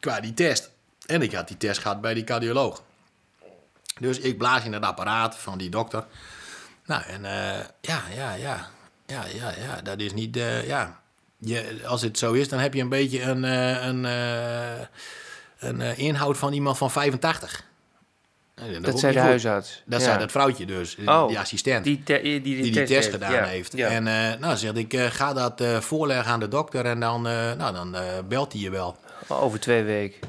qua die test. En ik had die test gehad bij die cardioloog. Dus ik blaas in het apparaat van die dokter. Nou, en eh, ja, ja, ja. Ja, ja, ja. Dat is niet... eh, ja. Je, als het zo is, dan heb je een beetje een, eh, een, eh, een eh, inhoud van iemand van 85. Eh,
Dat,
is
zei de
niet goed.
huisarts.
Dat
ja.
zei dat vrouwtje dus,
Oh,
die assistent
Die, te- die,
die
die,
die test,
heeft.
gedaan
Ja,
heeft.
ja.
En eh, nou zegt ik, eh, ga dat eh, voorleggen aan de dokter en dan, eh, nou, dan eh, belt hij je wel.
Over twee weken.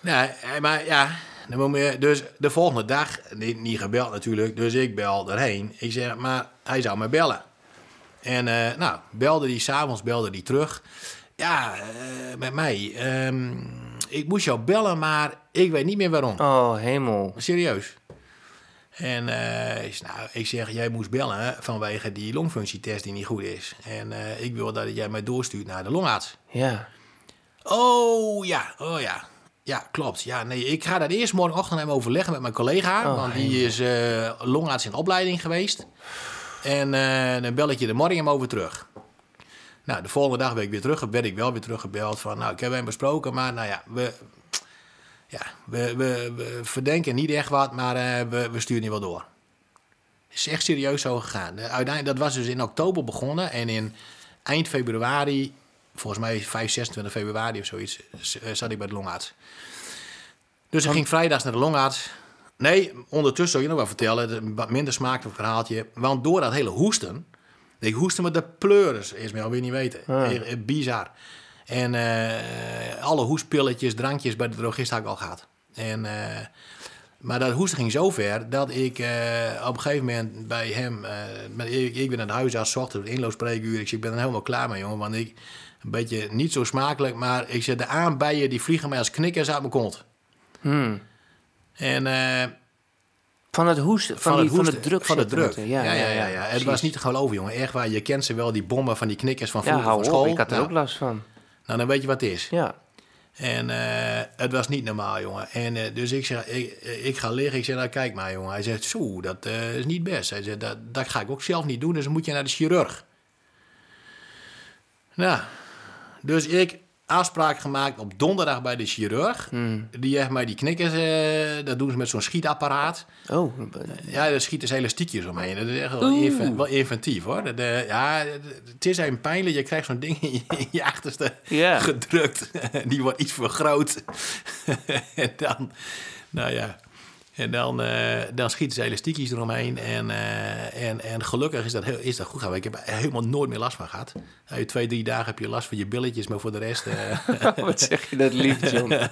Nee, eh, maar ja, dan moet je, dus de volgende dag, niet, niet gebeld natuurlijk, dus ik bel erheen. Ik zeg, maar hij zou me bellen. En eh, nou, belde hij s'avonds, belde hij terug. Ja, eh, met mij. ehm, ik moest jou bellen, maar ik weet niet meer waarom.
Oh, hemel.
Serieus. En eh, ik zeg, nou, ik zeg, jij moest bellen vanwege die longfunctietest die niet goed is. En eh, ik wil dat jij mij doorstuurt naar de longarts.
Ja.
Oh ja, oh ja. Ja, klopt. Ja, nee, ik ga dat eerst morgenochtend even overleggen met mijn collega.
Oh,
want die is eh, longarts in opleiding geweest. En eh, dan bel ik je er morgen hem over terug. Nou, de volgende dag ben ik weer terug, werd ik wel weer teruggebeld van... nou, ik heb hem besproken, maar nou ja, we, ja, we, we, we verdenken niet echt wat... maar eh, we, we sturen je wel door. Het is echt serieus zo gegaan. Eh, Uiteindelijk, dat was dus in oktober begonnen en in eind februari... volgens mij 5, 26 februari of zoiets, z- eh, zat ik bij de longarts. Dus ik ging vrijdags naar de longarts... Nee, ondertussen zou je nog wel vertellen, het is een wat minder smakelijk verhaaltje. Want door dat hele hoesten, ik hoestte met de pleuris, is mij alweer niet weten. Eh, eh, Bizar. En eh, alle hoestpilletjes, drankjes bij de drogist had ik al gehad. En, eh, maar dat hoesten ging zo ver dat ik eh, op een gegeven moment bij hem... eh, met, ik, ik ben naar de huisarts, 's ochtends, inloopspreekuur. Ik zeg, ik ben er helemaal klaar mee, jongen. Want ik, een beetje niet zo smakelijk, maar ik zeg, de aanbijen die vliegen mij als knikkers uit mijn kont.
Hmm.
En... eh,
Van het hoesten. Van, die, van de druk.
van de
zitten
druk.
moeten.
Ja, ja, ja, ja. Het
precies.
was niet te geloven, jongen. Echt waar, je kent ze wel, die bommen van die knikkers van
Ja,
vroeger van
hou
school.
op. Ik had er
nou,
ook last van.
nou, dan weet je wat het is.
Ja.
En eh, het was niet normaal, jongen. En eh, dus ik zeg, ik, ik ga liggen. Ik zeg, nou, kijk maar, jongen. Hij zegt, zo, dat eh, is niet best. Hij zegt, dat, dat ga ik ook zelf niet doen, dus dan moet je naar de chirurg. Nou, dus ik afspraak gemaakt op donderdag bij de chirurg. Die heeft mij die knikkers, eh, dat doen ze met zo'n schietapparaat.
Oh,
Ja, daar schieten ze elastiekjes omheen. Dat is echt wel,
Oeh.
inven- wel inventief hoor. Dat, eh, ja, het is een pijnlijk. Je krijgt zo'n ding in je, in je achterste
Ja.
[LAUGHS] gedrukt. Die wordt iets vergroot. en dan, nou ja. En dan, eh, dan schieten ze elastiekjes eromheen. En, eh, en, en gelukkig is dat, heel, is dat goed gegaan. Ik heb er helemaal nooit meer last van gehad. Nou, je twee, drie dagen heb je last van je billetjes, maar voor de rest... eh,
[LAUGHS]
[LAUGHS]
Wat zeg je dat lief, John?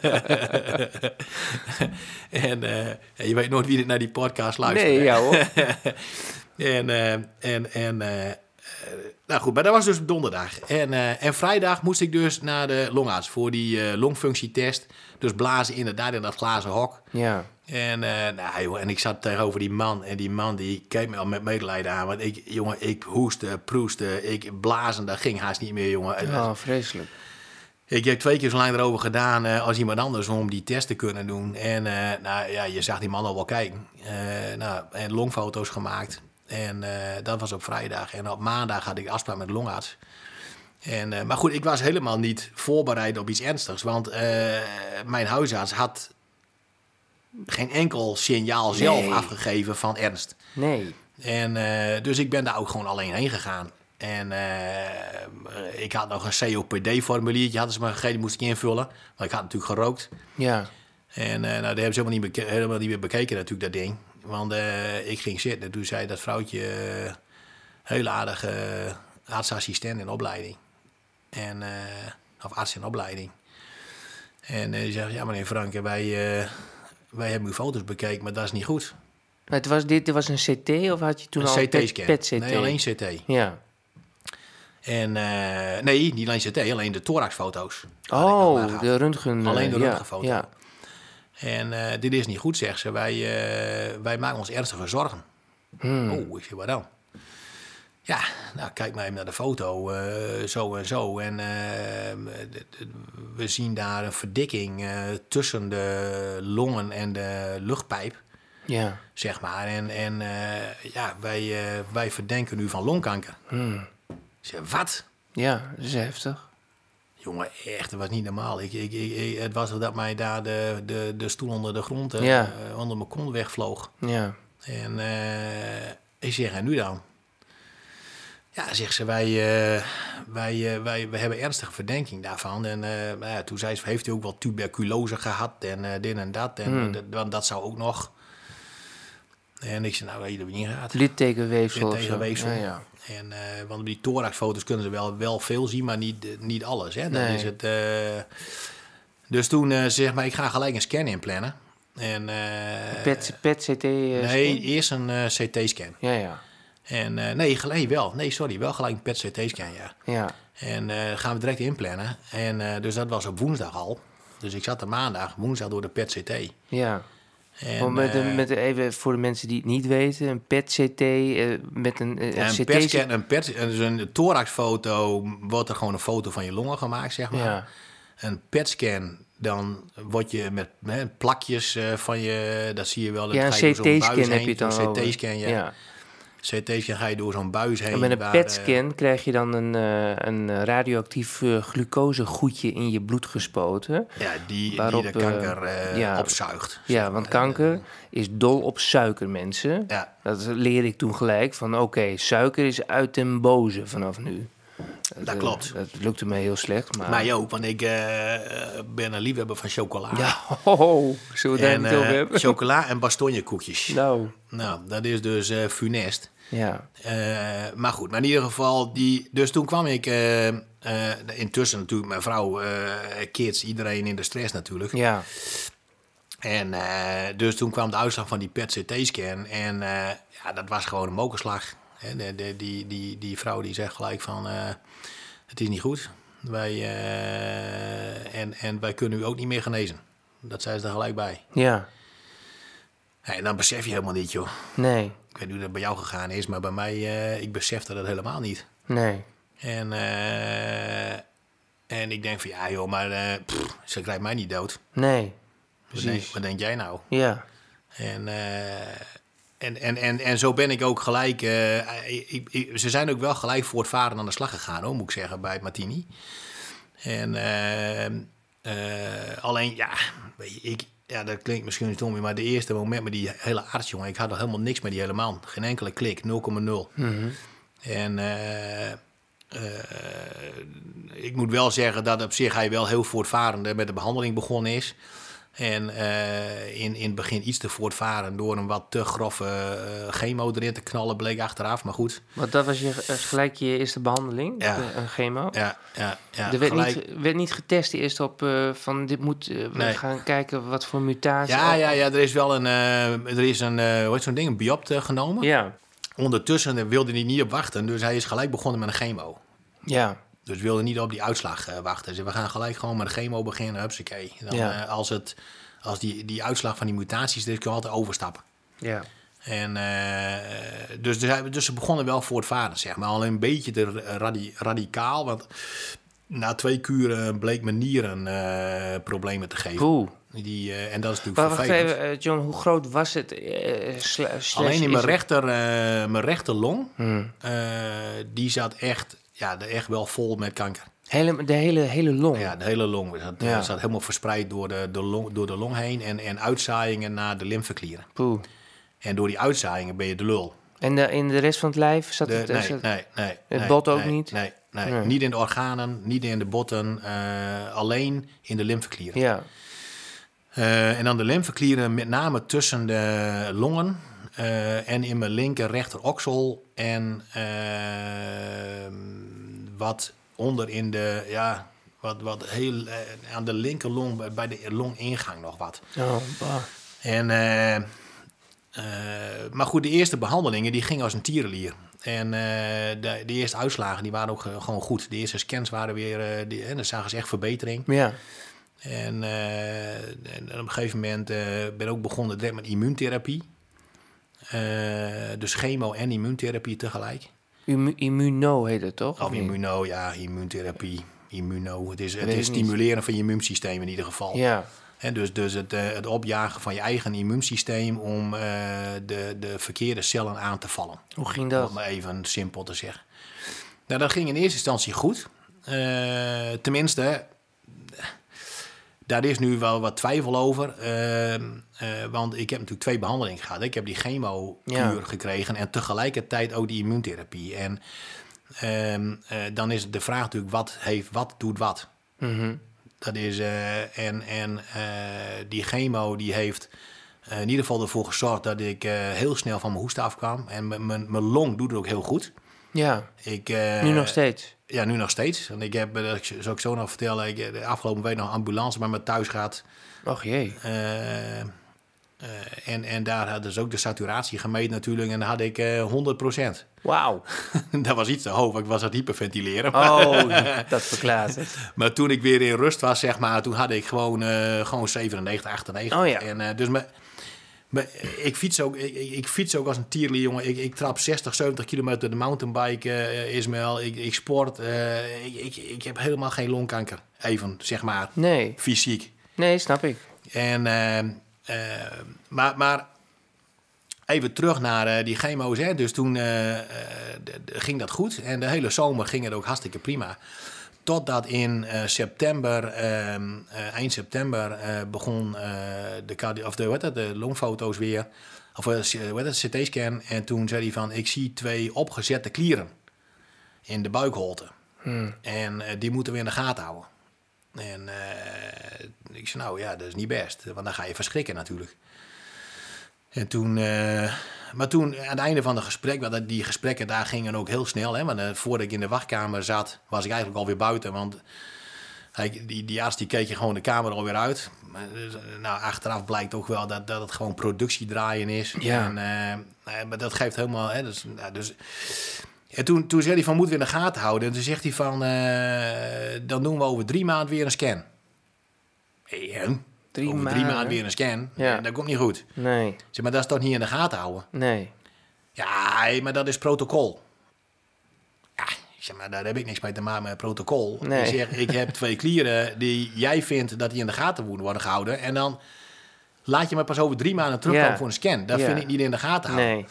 en eh, je weet nooit wie er naar die podcast luistert.
Nee,
hè?
ja hoor.
en, eh, en, en, eh, eh, nou goed, maar dat was dus donderdag. En, eh, en vrijdag moest ik dus naar de longarts voor die eh, longfunctietest. Dus blazen inderdaad in dat glazen hok.
Ja.
En, eh, nou, joh, en ik zat tegenover die man. En die man die keek me al met medelijden aan. Want ik, jongen, ik hoestte, proestte, ik blazen. Dat ging haast niet meer, jongen. Het was-
Oh, vreselijk.
ik heb twee keer zo lang erover gedaan eh, als iemand anders om die test te kunnen doen. En eh, nou, ja, je zag die man al wel kijken. Eh, nou, en longfoto's gemaakt. En eh, dat was op vrijdag. En op maandag had ik afspraak met de longarts. En, eh, maar goed, ik was helemaal niet voorbereid op iets ernstigs. Want eh, mijn huisarts had geen enkel signaal zelf
Nee.
afgegeven van ernst.
Nee.
En, eh, dus ik ben daar ook gewoon alleen heen gegaan. En eh, ik had nog een COPD-formuliertje, hadden ze me gegeven, die moest ik invullen. Want ik had natuurlijk gerookt.
Ja.
En eh nou, die hebben ze helemaal niet, beke- helemaal niet meer bekeken natuurlijk, dat ding. Want eh, ik ging zitten en toen zei dat vrouwtje, eh, heel aardige eh, artsassistent in opleiding. En, eh, of arts in opleiding. En eh, die zegt, ja meneer Frank, wij, eh, wij hebben uw foto's bekeken, maar dat is niet goed.
Maar het was, dit dit was een CT of had je toen al
een CT-scan.
PET-CT?
Nee, alleen CT.
Ja.
En eh, nee, niet alleen CT, alleen de thoraxfoto's. Had ik nog
Oh,
nagaat.
de röntgen. eh,
Alleen de
ja,
röntgenfoto.
Ja.
En eh, dit is niet goed, zegt ze. Wij, eh, wij maken ons ernstige zorgen.
Hmm.
Oh, ik zeg, wat dan? Ja, nou, kijk maar even naar de foto. eh, zo en zo. En eh, d- d- we zien daar een verdikking eh, tussen de longen en de luchtpijp,
Ja.
zeg maar. En, en eh, ja, wij, eh, wij verdenken u van longkanker.
Hmm.
Ik zeg, wat?
Ja, dat is heftig.
Jongen, echt, dat was niet normaal. Ik, ik, ik, ik- het was dat mij daar de, de, de stoel onder de grond, eh,
Ja.
eh, onder mijn kont wegvloog.
Ja.
En eh, ik zeg, en nu dan? Ja, zegt ze, wij, eh, wij, eh, wij, wij hebben ernstige verdenking daarvan. En eh, nou ja, toen zei ze, heeft u ook wel tuberculose gehad en eh, dit en dat. En dat, want dat zou ook nog. En ik zei, nou, weet je dat we niet gaat.
Littekenweefsel of zo.
Littekenweefsel.
Ja, ja.
En, eh, want op die thoraxfoto's kunnen ze wel, wel veel zien, maar niet, eh, niet alles. Hè? Dan
Nee.
is het, eh, dus toen eh, ze zegt maar, ik ga gelijk een scan inplannen. En, eh,
PET, PET-CT?
nee, eerst een eh, CT-scan.
Ja, ja.
En eh, nee, gelijk wel. Nee, sorry, wel gelijk een PET-CT-scan, ja.
Ja.
En eh gaan we direct inplannen. En eh, dus dat was op woensdag al. Dus ik zat er maandag, woensdag door de PET-CT.
Ja.
En,
Want met, een-
eh,
met, even voor de mensen die het niet weten, een PET-CT eh, met een, eh,
Ja,
een
een
CT.
PET-scan, een, PET, dus een thoraxfoto, wordt er gewoon een foto van je longen gemaakt, zeg maar.
Ja.
Een PET-scan, dan word je met hè, plakjes eh, van je, dat zie je wel. dat
Ja, een
ga je door zo'n
CT-scan
buis
heb
heen.
je het dan
Een
over.
CT-scan, ja.
ja.
CT-scan ga je door zo'n buis heen.
En met een E
waar, eh,
PET-scan krijg je dan een, eh, een eh, radioactief eh, glucosegoedje in je bloed gespoten.
ja, die,
waarop,
die de
eh,
kanker eh,
ja.
opzuigt.
Ja, want kanker is dol op suiker, mensen.
eh, Ja.
Dat leerde ik toen gelijk van oké, suiker is uit den boze vanaf nu.
Dat
eh,
klopt.
Dat lukte me heel slecht, maar...
Mij ook, want ik eh, eh, ben een liefhebber van chocola.
Ah. Ja, [LAUGHS] ho, ho, zullen we daar
En
niet over
eh, [LAUGHS]
hebben?
chocola en bastonjekoekjes.
Nou,
Nou, dat is dus eh, funest.
ja.
Eh, maar goed, maar in ieder geval, die, dus toen kwam ik, eh, eh, intussen natuurlijk mijn vrouw, eh, kids, iedereen in de stress natuurlijk.
Ja,
En eh, dus toen kwam de uitslag van die PET-CT-scan en eh, ja, dat was gewoon een mokerslag. Hè, de- de- die, die, die vrouw die zegt gelijk van, eh, het is niet goed, wij, eh, en, en wij kunnen u ook niet meer genezen. Dat zei ze er gelijk bij.
ja.
En dan besef je helemaal niet joh.
Nee,
Ik weet niet hoe dat bij jou gegaan is, maar bij mij, eh, ik besefte dat helemaal niet.
nee.
En, eh, en ik denk van ja joh, maar eh, pff, ze krijgt mij niet dood.
Nee,
Wat denk,
precies.
wat denk jij nou?
Ja,
En, eh, en, en, en, en zo ben ik ook gelijk. eh, ik- ik- ze zijn ook wel gelijk voortvarend aan de slag gegaan, hoor, moet ik zeggen, bij Martini. En eh, eh, alleen, ja, weet je, ik, ja, dat klinkt misschien stom, maar de eerste moment met die hele arts, jongen, ik had nog helemaal niks met die hele man. Geen enkele klik, 0,0. En eh, eh, ik moet wel zeggen dat op zich hij wel heel voortvarend met de behandeling begonnen is. En eh, in, in het begin iets te voortvarend door een wat te grove eh, chemo erin te knallen, bleek achteraf. Maar goed,
Want dat was je, eh, gelijk je eerste behandeling,
Ja.
de- een chemo.
ja, ja, ja.
er werd,
gelijk-
niet, werd niet getest eerst op eh, van dit moet, eh, we
Nee.
gaan kijken wat voor mutatie.
ja, ja, ja, er is wel een, eh, er is een eh, hoe heet zo'n ding, een biopte genomen.
Ja,
Ondertussen wilde hij niet op wachten, dus hij is gelijk begonnen met een chemo.
ja.
Dus we wilden niet op die uitslag eh, wachten. Ze we gaan gelijk gewoon met de chemo beginnen. Hupsakee. Dan,
Ja.
eh, als het, als die, die uitslag van die mutaties, dit kun je altijd overstappen.
ja.
En, eh, dus, dus, hij- dus ze begonnen wel voortvarend, zeg maar. Alleen een beetje te radi- radicaal. Want na twee kuren bleek mijn nieren eh, problemen te geven.
Poeh.
Die, eh, en dat is
Maar
natuurlijk
wacht
vervelend.
even, eh, John, hoe groot was het? eh, sla- slash
Alleen in mijn,
is het-
rechter, eh, mijn rechterlong,
Hmm.
eh, die zat echt, ja, echt wel vol met kanker.
Hele, de hele, hele long.
Ja, de hele long. Dat eh,
Ja.
zat helemaal verspreid door de, de long, door de long heen en, en uitzaaiingen naar de lymfeklieren.
Poeh.
En door die uitzaaiingen ben je de lul.
En de, in de rest van het lijf zat
De-
het... eh,
nee,
zat-
nee, nee.
Het
nee,
bot ook
nee,
niet?
Nee, nee,
Nee.
Niet in de organen, niet in de botten, eh, alleen in de lymfeklieren.
Ja,
Eh, en dan de lymfeklieren met name tussen de longen eh, en in mijn linker rechter oksel en eh, wat onder in de, ja, wat, wat heel eh, aan de linker long, bij- bij de longingang nog wat.
oh, bah.
En, eh, eh, maar goed, de eerste behandelingen die gingen als een tierenlier. En eh, de, de eerste uitslagen die waren ook eh, gewoon goed. De eerste scans waren weer, eh, die, en dan zagen ze echt verbetering.
ja.
En, eh, en op een gegeven moment eh, ben ik ook begonnen direct met immuuntherapie. Eh, dus chemo en immuuntherapie tegelijk.
Immu- immuno heet het toch?
Of
niet?
immuno, ja, immuuntherapie, immuno. Het is, het
weet
is
ik niet.
stimuleren van je immuunsysteem in ieder geval.
Ja,
Hè, dus dus het, eh, het opjagen van je eigen immuunsysteem om eh, de, de verkeerde cellen aan te vallen.
hoe ging
Om
dat?
het maar even simpel te zeggen. Nou, dat ging in eerste instantie goed. Eh, tenminste, daar is nu wel wat twijfel over. Eh, eh, want ik heb natuurlijk twee behandelingen gehad. Ik heb die chemokuur
Ja.
gekregen en tegelijkertijd ook die immuuntherapie. En ehm, eh, dan is de vraag natuurlijk, wat, heeft, wat doet wat?
Mhm.
Dat is, eh, en en eh, die chemo die heeft eh, in ieder geval ervoor gezorgd dat ik eh, heel snel van mijn hoest afkwam. En mijn- mijn mijn long doet het ook heel goed.
Ja,
Ik, eh,
nu nog steeds.
Ja, nu nog steeds. En ik heb, eh, dat ik- zal ik zo nog vertellen, ik, eh, de afgelopen week nog een ambulance bij me thuis gehad.
Och jee.
Eh, eh, en, en daar hadden ze ook de saturatie gemeten natuurlijk. En daar had ik eh 100%.
Wauw.
[LAUGHS] dat was iets te hoog, want ik was aan het hyperventileren.
Oh,
[LAUGHS]
dat verklaart het.
Maar toen ik weer in rust was, zeg maar, toen had ik gewoon, eh, gewoon 97, 98.
Oh ja.
en, eh, dus me, me- ik, fiets ook, ik, ik- ik fiets ook als een tierlie, jongen. Ik, ik trap 60, 70 kilometer de mountainbike, eh Ismael. Ik, ik sport. eh, ik, ik, ik heb helemaal geen longkanker. Even, zeg maar,
Nee,
fysiek.
nee, snap ik.
En, eh, eh, maar, maar even terug naar eh, die chemo's. Hè. Dus toen eh, eh, d- d- ging dat goed. En de hele zomer ging het ook hartstikke prima. Totdat in eh, september, ehm, eh, eind september, eh, begon eh, de, cardi- of de, hoe heet dat, de longfoto's weer. Of eh, c- hoe heet dat, CT-scan. En toen zei hij van, ik zie twee opgezette klieren in de buikholte.
Hmm.
En eh, die moeten we in de gaten houden. En eh, ik zei, nou ja, dat is niet best. Want dan ga je verschrikken natuurlijk. En toen, eh, maar toen, aan het einde van het gesprek, want dat- die gesprekken daar gingen ook heel snel. Hè, want eh, voordat ik in de wachtkamer zat, was ik eigenlijk alweer buiten. Want hij, die, die arts die keek je gewoon de kamer alweer uit. Maar, dus, eh, Nou, achteraf blijkt ook wel dat, dat het gewoon productiedraaien is.
Ja.
En, eh, eh, maar dat geeft helemaal... Hè, dus, nou, dus, en toen, toen zei hij van, moeten we in de gaten houden. En toen zegt hij van, eh, dan doen we over drie maanden weer een scan. Hé, hè?
Drie
over drie
maanden?
maanden weer een scan?
Ja.
Eh, Dat komt niet goed.
Nee,
Ik Zeg, maar dat is toch niet in de gaten houden?
nee.
Ja, hé, maar dat is protocol. Ja, ik zeg, maar daar heb ik niks mee te maken met protocol.
Nee.
Ik zeg, ik heb twee klieren die jij vindt dat die in de gaten moeten worden gehouden. En dan laat je me pas over drie maanden terugkomen
Ja.
voor een scan. Dat
Ja.
vind ik niet in de gaten houden.
Nee,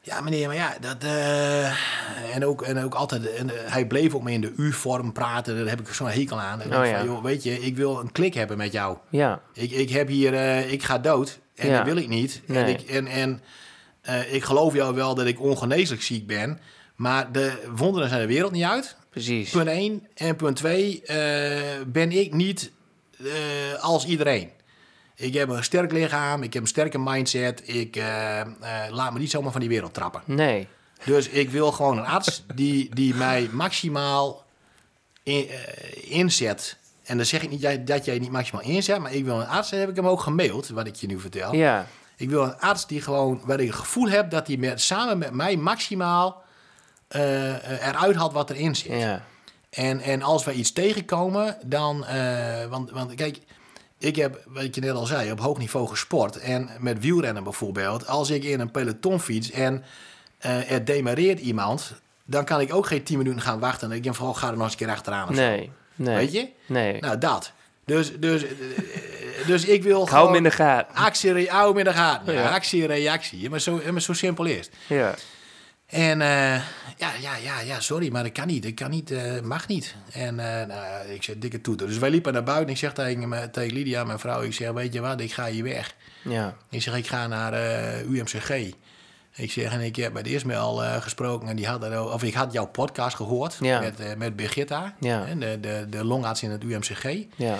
Ja, meneer, maar ja, dat... eh, en, ook, en ook altijd... En, eh, hij bleef ook me in de U-vorm praten. Daar heb ik zo'n hekel aan. En ik
Oh,
dacht van,
ja.
joh, weet je, ik wil een klik hebben met jou.
ja.
Ik, ik heb hier, eh, ik ga dood en
Ja.
dat wil ik niet. En,
Nee.
ik, en, en eh, ik geloof jou wel dat ik ongeneeslijk ziek ben, maar de wonderen zijn de wereld niet uit.
Precies.
Punt 1 en punt 2 ben ik niet eh, als iedereen. Ik heb een sterk lichaam, ik heb een sterke mindset. Ik eh, eh, laat me niet zomaar van die wereld trappen.
Nee.
Dus ik wil gewoon een arts die, die mij maximaal in- eh, inzet. En dan zeg ik niet dat, dat jij niet maximaal inzet, maar ik wil een arts, en heb ik hem ook gemaild, wat ik je nu vertel.
Ja.
Ik wil een arts die gewoon, waar ik het gevoel heb dat hij met, samen met mij maximaal eh, eh, eruit haalt wat erin zit.
Ja.
En, en als wij iets tegenkomen, dan. eh, want, want kijk, ik heb, wat je net al zei, op hoog niveau gesport. En met wielrennen bijvoorbeeld. Als ik in een peloton fiets en eh, er demareert iemand. dan kan ik ook geen 10 minuten gaan wachten. En ik denk, vooral ga er nog eens een keer achteraan. of zo.
Nee. Nee.
Weet je?
Nee.
Nou, dat. Dus, dus, eh, dus ik wil.
Ik hou
gewoon
hem in de gaten.
Actie, re- hou hem in de gaten. Ja,
Ja.
Actie, reactie. Maar zo, maar zo simpel is het.
Ja.
En eh, ja, ja, ja, ja, sorry, maar dat kan niet. Dat kan niet, eh, mag niet. En eh, nou, ik zei, dikke toeter. Dus wij liepen naar buiten. Ik zeg tegen, me- tegen Lydia, mijn vrouw, ik zeg, weet je wat, ik ga hier weg.
Ja.
Ik zeg, ik ga naar eh, UMCG. Ik zeg, en ik heb met Ismail eh gesproken en die had, er, of ik had jouw podcast gehoord
Ja.
met, eh, met Birgitta,
Ja.
hè, de, de, de longarts in het UMCG. En
Ja.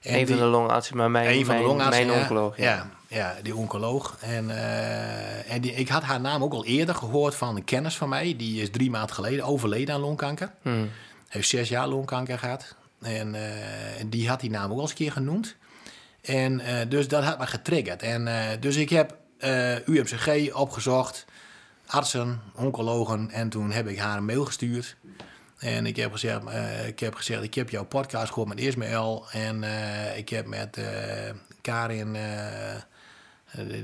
die-
Een van de longartsen, maar mijn,
een van de
mijn-
longartsen,
mijn
ja.
oncoloog.
Ja. Ja, die oncoloog. En, eh, en die, ik had haar naam ook al eerder gehoord van een kennis van mij. Die is drie maanden geleden overleden aan longkanker.
Hm.
Heeft zes jaar longkanker gehad. En eh, en die had die naam ook al eens een keer genoemd. En eh, dus dat had me getriggerd. En, eh, dus ik heb eh, UMCG opgezocht, artsen, oncologen. En toen heb ik haar een mail gestuurd. En ik heb gezegd, eh, ik heb, gezegd ik heb jouw podcast gehoord met Ismaël. En eh, ik heb met eh, Karin, eh, eh,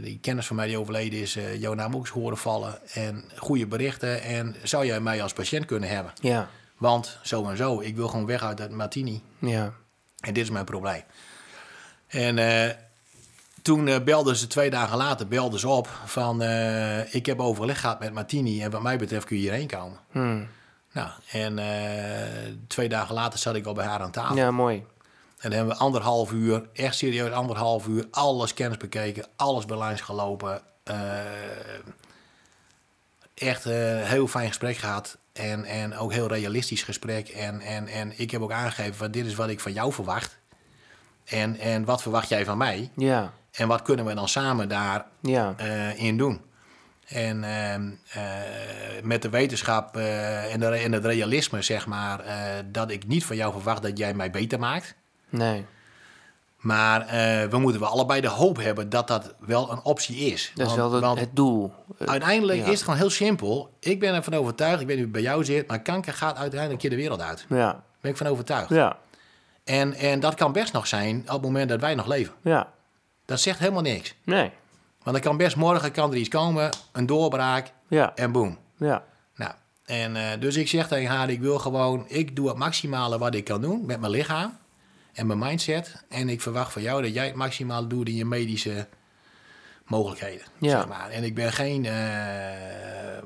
die kennis van mij die overleden is, eh, jouw naam ook eens horen vallen. En goede berichten. En zou jij mij als patiënt kunnen hebben?
Ja.
Want zo en zo, ik wil gewoon weg uit dat martini.
Ja.
En dit is mijn probleem. En eh, toen eh, belden ze twee dagen later belden ze op van... eh, ik heb overleg gehad met Martini en wat mij betreft kun je hierheen komen.
Hm.
Nou, en eh, twee dagen later zat ik al bij haar aan tafel.
Ja, mooi.
En dan hebben we anderhalf uur, echt serieus anderhalf uur... alles kennis bekeken, alles bij langs gelopen. eh, echt eh, een heel fijn gesprek gehad. En, en ook heel realistisch gesprek. En, en, en ik heb ook aangegeven, van, dit is wat ik van jou verwacht. En, en wat verwacht jij van mij?
Ja.
En wat kunnen we dan samen daarin
Ja.
in doen? En ehm, eh, met de wetenschap eh, en, de, en het realisme, zeg maar... eh, dat ik niet van jou verwacht dat jij mij beter maakt...
Nee.
Maar eh, we moeten wel allebei de hoop hebben dat dat wel een optie is.
Dat
Want-
is wel het,
want
het doel. Eh,
uiteindelijk
ja.
is het gewoon heel simpel. Ik ben ervan overtuigd, ik weet niet hoe het bij jou zit, maar kanker gaat uiteindelijk een keer de wereld uit. Daar
Ja.
ben ik van overtuigd.
Ja.
En, en dat kan best nog zijn op het moment dat wij nog leven.
Ja.
Dat zegt helemaal niks.
Nee.
Want dan kan best morgen kan er iets komen, een doorbraak
Ja.
en boom.
Ja.
Nou, en, eh, dus ik zeg tegen haar, ik wil gewoon, ik doe het maximale wat ik kan doen met mijn lichaam en mijn mindset. En ik verwacht van jou dat jij het maximale doet in je medische mogelijkheden.
Ja.
Zeg maar. En ik ben geen eh, eh,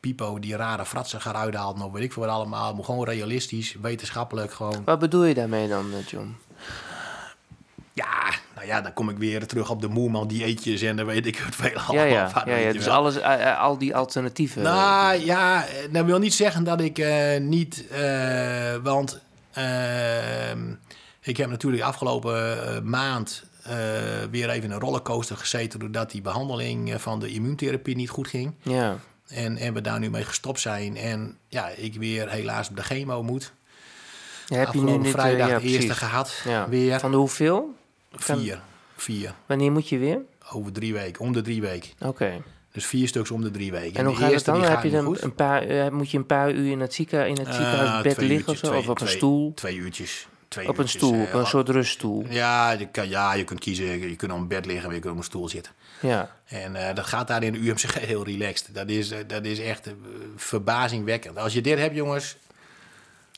pipo die rare fratsen gaat uithalen of weet ik veel wat allemaal. Maar gewoon realistisch, wetenschappelijk gewoon.
Wat bedoel je daarmee dan, eh, John?
Ja, nou ja, dan kom ik weer terug op de moerman dieetjes en dan weet ik het veel allemaal. [LAUGHS]
Ja, ja.
van,
ja,
weet
ja
je
dus
wel.
alles, eh, eh, al die alternatieven. eh,
Nou
dus-
ja, dat wil niet zeggen dat ik eh, niet. eh, want eh, ik heb natuurlijk afgelopen eh, maand eh, weer even een rollercoaster gezeten. doordat die behandeling eh, van de immuuntherapie niet goed ging.
Ja.
En, en we daar nu mee gestopt zijn. En ja, ik weer helaas op de chemo moet.
Ja, heb je nu
afgelopen
niet, eh,
vrijdag
ja,
de eerste
precies.
gehad.
Ja.
Weer
Van de hoeveel? kan-
vier. Vier.
Wanneer moet je weer?
Over drie weken. Om de drie weken.
Oké.
Dus vier stuks om de drie weken.
En hoe
de
gaat het
eerste,
dan?
die
Heb je
gaat niet
dan
goed.
een paar, eh, moet je een paar uur in het, zieken, in het
Ah,
ziekenhuisbed
twee
liggen
uurtjes,
of zo?
twee-
of op een
twee-
stoel?
Twee uurtjes. Twee
Op een
uurtjes,
stoel,
eh,
op een
wat- Eh,
soort ruststoel.
Ja je, kan, ja, je kunt kiezen. Je, je kunt op een bed liggen, maar je kunt op een stoel zitten.
Ja.
En eh, dat gaat daar in de UMCG [LAUGHS] heel relaxed. Dat is, eh, dat is echt eh, verbazingwekkend. Als je dit hebt, jongens,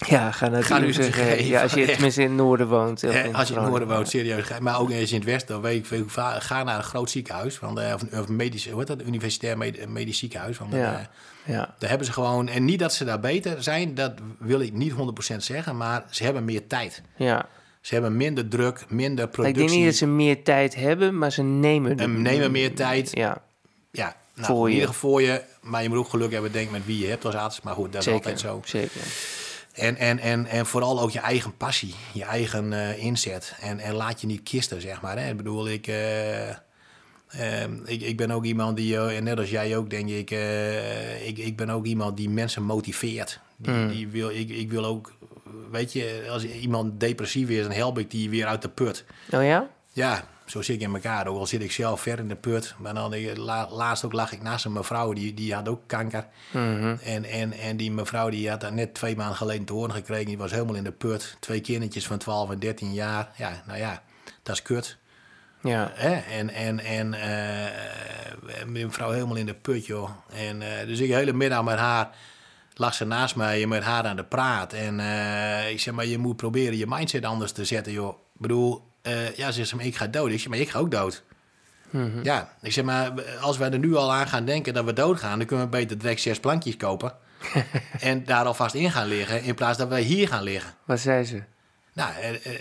Ja, ga naar
Ga
het
nu
UZG.
zeggen,
Ja, als je
echt.
tenminste in het noorden woont. of
eh, als je in het
Groningen.
noorden woont, serieus, ga- maar ook als je in het westen, dan weet ik veel, va- ga naar een groot ziekenhuis, want, eh, of, een- of een medisch, hoe heet dat, universitair med- medisch ziekenhuis. Want,
Ja.
eh,
Ja.
daar hebben ze gewoon, en niet dat ze daar beter zijn, dat wil ik niet 100% zeggen, maar ze hebben meer tijd.
ja.
Ze hebben minder druk, minder
Ik
productie.
denk niet dat ze meer tijd hebben, maar ze nemen de-
En nemen meer tijd.
Ja,
Ja, nou,
Voor
in
je.
ieder geval voor je. Maar je moet ook geluk hebben, denk ik, met wie je hebt als arts. Maar goed, dat is
zeker.
altijd zo.
Zeker.
En, en, en, en vooral ook je eigen passie, je eigen eh, inzet. En, en laat je niet kisten, zeg maar. Hè? Ik bedoel, ik, eh, eh, ik, ik ben ook iemand die, eh, en net als jij ook, denk ik, eh, ik, ik ben ook iemand die mensen motiveert. Die,
Hmm.
die wil, ik, ik wil ook, weet je, als iemand depressief is, dan help ik die weer uit de put.
Oh ja?
Ja, zo zit ik in elkaar. Ook al zit ik zelf ver in de put. Maar dan, eh, la- laatst ook lag ik naast een mevrouw, die, die had ook kanker.
Mhm.
En, en, en die mevrouw die had daar net twee maanden geleden te horen gekregen. Die was helemaal in de put. Twee kindertjes van 12 en 13 jaar. Ja, nou ja, dat is kut.
Ja.
Hè? En, en, en eh, die mevrouw helemaal in de put, joh. En, eh, dus ik de hele middag met haar lag ze naast mij en met haar aan de praat. En eh, ik zeg maar, je moet proberen je mindset anders te zetten, joh. Ik bedoel, eh, ja, ze zegt, ik ga dood. Ik zeg, maar ik ga ook dood.
Mhm.
Ja, ik zeg maar, als wij er nu al aan gaan denken dat we doodgaan, dan kunnen we beter direct zes plankjes kopen. en daar alvast in gaan liggen, in plaats dat wij hier gaan liggen.
Wat zei ze?
Nou, eh, eh,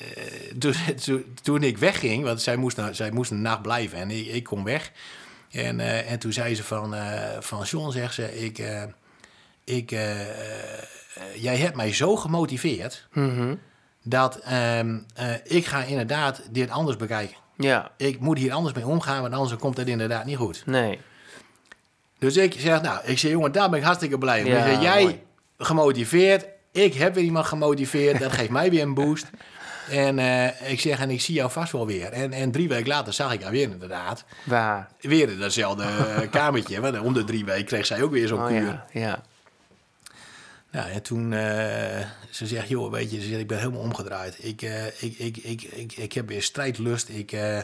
toen, [LAUGHS] toen- toen ik wegging, want zij moest, nou- zij moest een nacht blijven en ik, ik kom weg. En, eh, en toen zei ze van, eh, van John, zegt ze, ik, eh, ik, eh, eh, jij hebt mij zo gemotiveerd
Mhm.
dat ehm, eh, ik ga inderdaad dit anders bekijken.
Ja.
Ik moet hier anders mee omgaan, want anders komt het inderdaad niet goed.
Nee.
Dus ik zeg, nou, ik zeg, jongen, daar ben ik hartstikke blij mee.
Ja,
Ik zeg, jij
mooi.
gemotiveerd, ik heb weer iemand gemotiveerd, dat geeft mij weer een boost. En eh, ik zeg, en ik zie jou vast wel weer. En, en drie weken later zag ik haar weer inderdaad.
Waar?
Weer in datzelfde eh,
[LAUGHS]
kamertje. Want om de drie weken kreeg zij ook weer zo'n
Oh
kuur.
ja. Ja.
Nou, en toen, eh, ze zegt, joh, weet je, ze zegt, ik ben helemaal omgedraaid. Ik, eh, ik, ik, ik, ik, ik heb weer strijdlust. Ik, eh,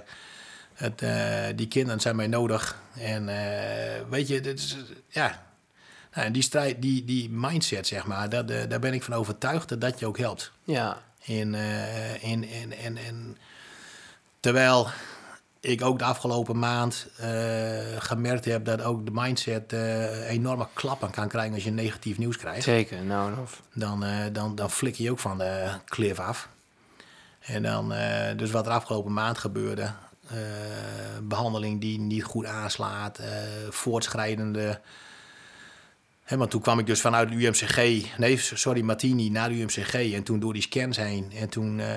het, eh, die kinderen zijn mij nodig. En eh, weet je, dit is, ja. Nou, en die, strijd, die, die mindset, zeg maar, dat, eh, daar ben ik van overtuigd dat dat je ook helpt.
Ja.
In, eh, in, in, in, in, terwijl ik ook de afgelopen maand eh, gemerkt heb dat ook de mindset eh, enorme klappen kan krijgen als je negatief nieuws krijgt
Zeker. Nou en of.
dan, eh, dan, dan flikker je ook van de klif af. En dan, eh, dus wat er afgelopen maand gebeurde, eh, behandeling die niet goed aanslaat, eh, voortschrijdende. Hè, want toen kwam ik dus vanuit de UMCG, nee, sorry, Martini naar de UMCG en toen door die scans heen. En toen, eh,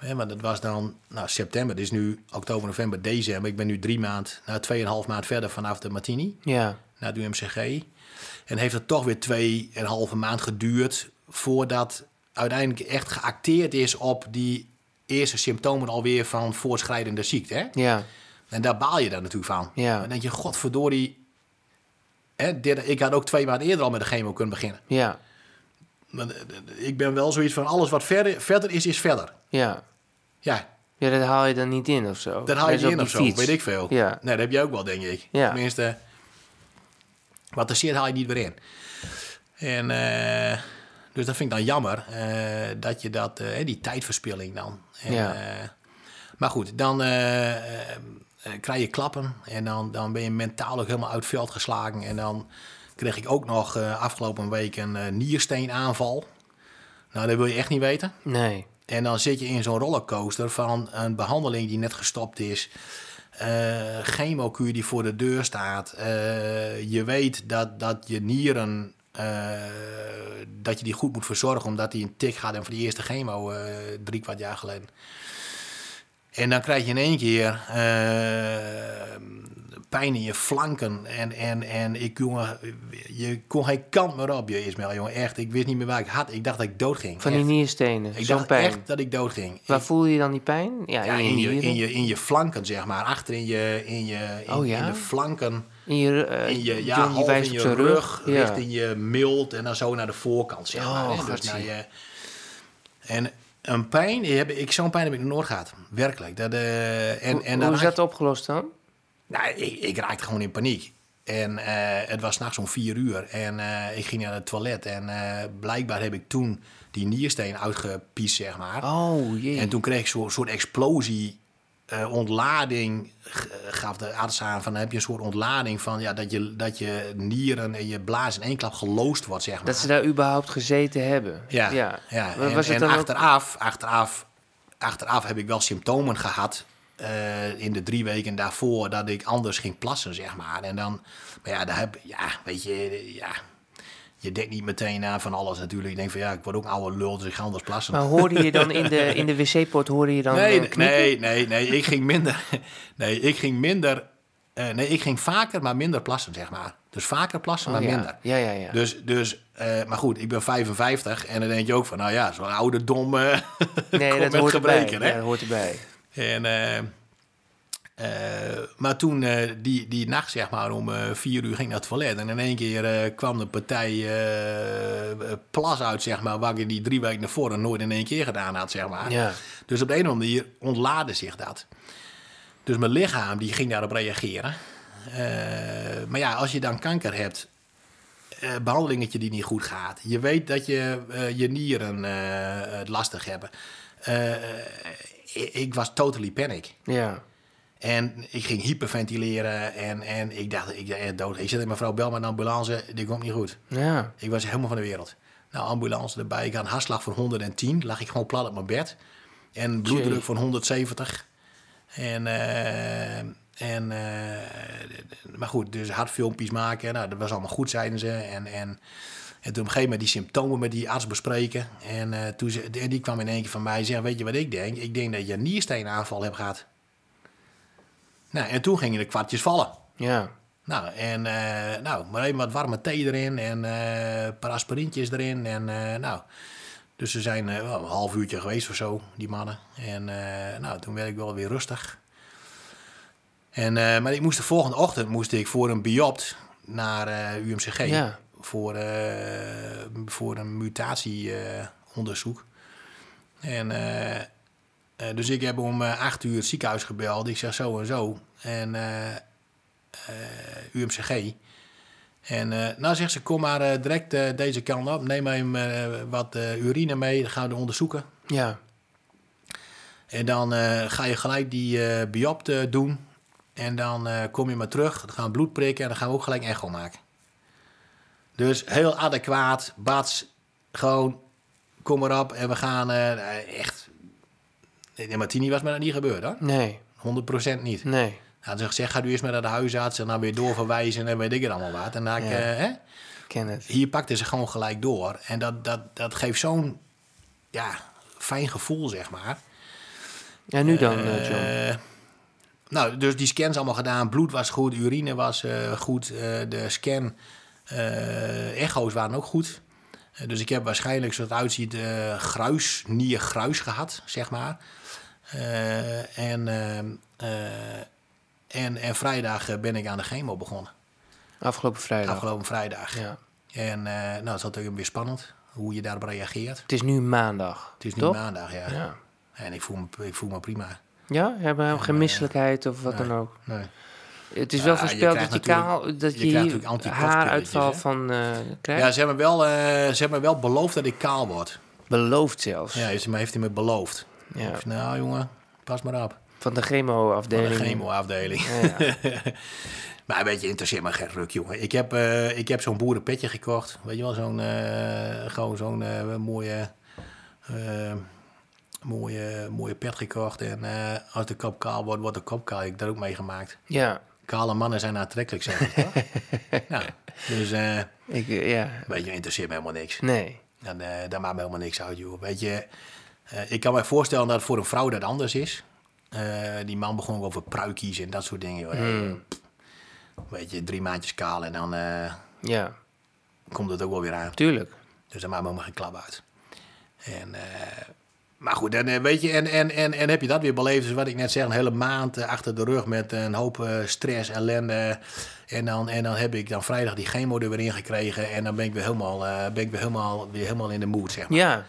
hè, want dat was dan nou, september, het is nu oktober, november, december. Ik ben nu drie maand, nou, tweeënhalf maand verder vanaf de Martini
Ja.
naar de UMCG. En heeft het toch weer twee en een halve maand geduurd voordat uiteindelijk echt geacteerd is op die eerste symptomen alweer van voortschrijdende ziekte. Hè?
Ja.
En daar baal je dan natuurlijk van.
Ja.
Dan denk je, godverdorie, hè, dit, ik had ook twee maanden eerder al met de chemo kunnen beginnen.
Ja.
Want, eh, eh, Ik ben wel zoiets van, alles wat verder, verder is, is verder.
Ja.
Ja,
Ja, dat haal je dan niet in of zo.
dat haal je
Net
niet
op
in
die
of zo,
fiets.
weet ik veel.
Ja.
Nee, dat heb je ook wel, denk ik.
Ja.
Tenminste, wat er zit, haal je niet weer in. En, eh, dus dat vind ik dan jammer, eh, dat je dat, eh, die tijdverspilling dan. En,
Ja.
eh, maar goed, dan eh, eh, eh, krijg je klappen en dan, dan ben je mentaal ook helemaal uit het veld geslagen. En dan kreeg ik ook nog eh, afgelopen week een eh, niersteenaanval. Nou, dat wil je echt niet weten.
Nee.
En dan zit je in zo'n rollercoaster van een behandeling die net gestopt is. eh chemokuur die voor de deur staat. eh, je weet dat, dat je nieren. eh, dat je die goed moet verzorgen, omdat die een tik gaat en voor die eerste chemo eh, drie kwart jaar geleden. En dan krijg je in één keer eh, pijn in je flanken. En, en, en ik, jongen, je kon geen kant meer op, je Ismail, jongen. Echt, ik wist niet meer waar ik had. Ik dacht dat ik doodging.
Van
Echt.
die nierstenen.
Ik
Zo'n
dacht
pijn.
echt dat ik doodging.
Waar
Ik-
voel je dan die pijn? Ja,
ja,
in, je
in, je,
nieren.
in, je, in je flanken, zeg maar. Achter in je, in je, in,
Oh, ja?
in de flanken.
In je, eh,
In je, ja,
John die
half
wijst
in
op
je
zijn
rug,
rug. Ja.
richting je mild en dan zo naar de voorkant, zeg
Oh,
maar. hè. Dus
gratie.
naar je, en een pijn, die heb ik, zo'n pijn heb ik nog nooit gehad. Werkelijk. Dat, eh, en,
Hoe-
en dan
Hoe is
raak
dat opgelost dan?
nou, ik, ik raakte gewoon in paniek. En eh, het was s'nachts om vier uur. En eh, ik ging naar het toilet. En eh, blijkbaar heb ik toen die niersteen uitgepiest, zeg maar.
Oh jee.
En toen kreeg ik zo'n soort explosie, eh, ontlading. g- eh, Gaf de arts aan van, dan heb je een soort ontlading van... Ja, dat, je, dat je nieren en je blaas in één klap geloosd wordt, zeg maar.
Dat ze daar überhaupt gezeten hebben.
Ja, ja.
ja.
en,
Wa- Was
en
het dan ook...
achteraf, achteraf, achteraf heb ik wel symptomen gehad eh, in de drie weken daarvoor dat ik anders ging plassen, zeg maar. En dan, maar ja, daar heb, ja, weet je, ja. je denkt niet meteen na van alles natuurlijk. Je denkt van ja, ik word ook een oude lul, dus ik ga anders plassen.
Maar hoorde je dan in de, in de wc-pot, hoorde je dan
nee,
eh,
nee,
knikken?
nee, nee, nee, ik ging minder. [LAUGHS] Nee, ik ging minder. eh, nee, ik ging vaker, maar minder plassen, zeg maar. Dus vaker plassen,
Oh,
maar
ja.
minder.
Ja, ja, ja.
Dus, dus eh, maar goed, ik ben 55 en dan denk je ook van, nou ja, zo'n ouderdom [LAUGHS] eh
nee,
komt
dat
met
hoort
gebreken. Hè?
erbij. Ja, dat hoort erbij.
En, eh, eh, maar toen, eh, die, die nacht zeg maar, om eh, vier uur ging ik naar het toilet. En in één keer eh, kwam de partij eh, plas uit, zeg maar, waar ik die drie weken naar voren nooit in één keer gedaan had, zeg maar.
Ja.
Dus op de een of andere manier ontlaadde zich dat. Dus mijn lichaam die ging daarop reageren. Eh, maar ja, als je dan kanker hebt, eh, behandelingetje die niet goed gaat. Je weet dat je eh, je nieren eh, het lastig hebben. Eh, ik, ik was totally panic.
Ja.
En ik ging hyperventileren en, en ik dacht, ik eh, dood. Ik zei tegen mevrouw, bel maar een ambulance, dit komt niet goed.
Ja.
Ik was helemaal van de wereld. Nou, ambulance erbij. Ik had een hartslag van 110. Lag ik gewoon plat op mijn bed. En bloeddruk
Jee.
van 170. En, eh, en eh, maar goed, dus hartfilmpjes maken. Nou, dat was allemaal goed, zeiden ze. En, en, en toen op een gegeven moment die symptomen met die arts bespreken. En eh, toen ze, en die kwam in één keer van mij en zei, weet je wat ik denk? Ik denk dat je een niersteenaanval hebt gehad. Nou, en toen gingen de kwartjes vallen.
Ja.
Nou, en, eh, nou, maar even wat warme thee erin en eh een paar aspirintjes erin. En, eh, nou. Dus ze zijn eh, wel een half uurtje geweest of zo, die mannen. En eh, nou, toen werd ik wel weer rustig. En, eh, maar ik moest de volgende ochtend moest ik voor een biopt naar eh, UMCG.
Ja.
Voor, eh, voor een mutatieonderzoek. en eh, eh, dus ik heb om eh, acht uur het ziekenhuis gebeld. Ik zeg zo en zo. En eh, eh, UMCG. En eh, nou zegt ze, kom maar eh, direct eh, deze kant op. Neem maar hem, eh, wat eh, urine mee, dan gaan we onderzoeken.
Ja.
En dan eh, ga je gelijk die eh biopt eh, doen. En dan eh, kom je maar terug, dan gaan we bloed prikken en dan gaan we ook gelijk echo maken. Dus heel adequaat, bats, gewoon kom maar op en we gaan eh, echt... In Martini was me dat niet gebeurd hoor,
Nee.
100% niet.
Nee.
Nou, ze zegt, ga nu eerst maar naar de huisarts en dan weer doorverwijzen en weet ik het allemaal wat. En dan,
Ja.
eh, hè?
Ik ken het.
hier pakten ze gewoon gelijk door. En dat, dat, dat geeft zo'n ja, fijn gevoel, zeg maar.
En nu dan, eh, John?
Eh, nou, dus die scans allemaal gedaan. Bloed was goed, urine was eh, goed. eh, de scan, eh, echo's waren ook goed. Eh, dus ik heb waarschijnlijk, zoals het uitziet, eh gruis, niergruis gehad, zeg maar. Eh, en, eh, eh, en, en vrijdag eh, ben ik aan de chemo begonnen.
Afgelopen vrijdag.
Afgelopen vrijdag.
Ja.
En eh, nou, het is natuurlijk weer spannend hoe je daarop reageert.
Het is nu maandag.
Het is nu
toch?
maandag, ja.
Ja.
En ik voel, me, ik voel me prima.
Ja? Hebben we geen misselijkheid of wat dan ook?
Nee.
Het is
Ja,
wel
je
voorspeld
krijgt
dat je,
natuurlijk-
kaal, dat
je
je,
krijgt
hier
natuurlijk antikortpilletjes,
haaruitval
hè?
van eh, krijgt.
Ja, ze hebben, wel, eh, ze hebben wel beloofd dat ik kaal word.
Beloofd zelfs.
Ja, ze heeft hij me beloofd.
Ja.
Ik zei, nou jongen, pas maar op.
Van de chemo-afdeling.
Van de chemoafdeling.
Ja, ja.
[LAUGHS] Maar weet je, interesseert me geen ruk, jongen. Ik heb, eh, ik heb zo'n boerenpetje gekocht. Weet je wel, zo'n eh, gewoon zo'n eh, mooie, eh, mooie, mooie pet gekocht. En eh, als de kop kaal wordt, wordt de kop kaal. Ik heb dat ook meegemaakt.
ja.
Kale mannen zijn aantrekkelijk, zeg
[LAUGHS]
maar. nou, dus eh
Ik, eh, ja.
weet je, interesseert me helemaal niks.
Nee.
Dan, eh dat maakt me helemaal niks uit, joh. Weet je, eh, ik kan me voorstellen dat het voor een vrouw dat anders is. Eh, die man begon ook over pruikies en dat soort dingen. Joh. Weet je, drie maandjes kaal en dan eh,
Ja.
komt het ook wel weer aan.
Tuurlijk.
Dus daar maakt me helemaal geen klap uit. En, eh, maar goed, en, eh, weet je, en, en, en, en heb je dat weer beleefd? Dus wat ik net zei, een hele maand eh, achter de rug met een hoop eh, stress, ellende. En dan, en dan heb ik dan vrijdag die chemo er weer in gekregen. En dan ben ik weer helemaal, eh, ben ik weer helemaal, weer helemaal in de mood, zeg maar.
Ja.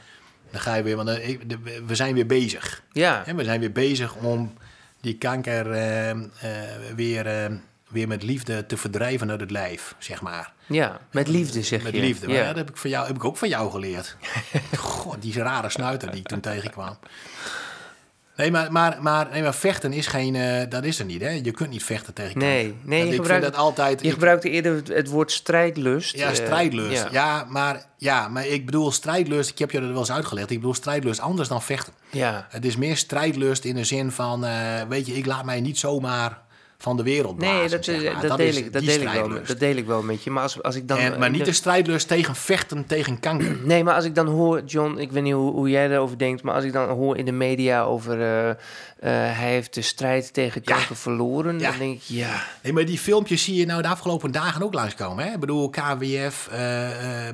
Dan ga je weer, want dan- ik- de- we zijn weer bezig.
Ja.
En we zijn weer bezig om die kanker eh, eh, weer, eh, weer met liefde te verdrijven uit het lijf, zeg maar.
Ja. Met liefde zeg
Met
je.
liefde. Maar
Ja.
ja, dat heb ik, van jou, heb ik ook van jou
[LAUGHS]
geleerd. God, die rare snuiter die ik toen tegenkwam. Nee, maar, maar, maar, nee, maar vechten is geen... eh, dat is er niet, hè? Je kunt niet vechten tegen kanker.
Nee. Nee,
Dat-
je
ik
gebruikt-
vind dat altijd...
Je
ik-
gebruikte eerder het- het woord strijdlust.
ja,
eh,
strijdlust.
ja.
ja. maar, ja, maar ik bedoel strijdlust... Ik heb je dat wel eens uitgelegd. Ik bedoel strijdlust anders dan vechten.
Ja.
Het is meer strijdlust in de zin van, eh, weet je, ik laat mij niet zomaar van de wereld blazen.
Nee, dat,
zeg
eh,
maar.
dat, deel,
is
ik, dat,
die
deel ik wel, met-
strijdlust.
dat deel ik wel met je. Maar als, als ik dan.
En, maar
eh,
niet de strijdlust tegen vechten, tegen kanker.
Nee, maar als ik dan hoor, John, ik weet niet hoe, hoe jij daarover denkt, maar als ik dan hoor in de media over eh, eh, hij heeft de strijd tegen
Ja.
kanker verloren,
Ja.
dan denk ik ja.
Nee, maar die filmpjes zie je nou de afgelopen dagen ook langskomen. Hè? Ik bedoel, KWF. eh, eh,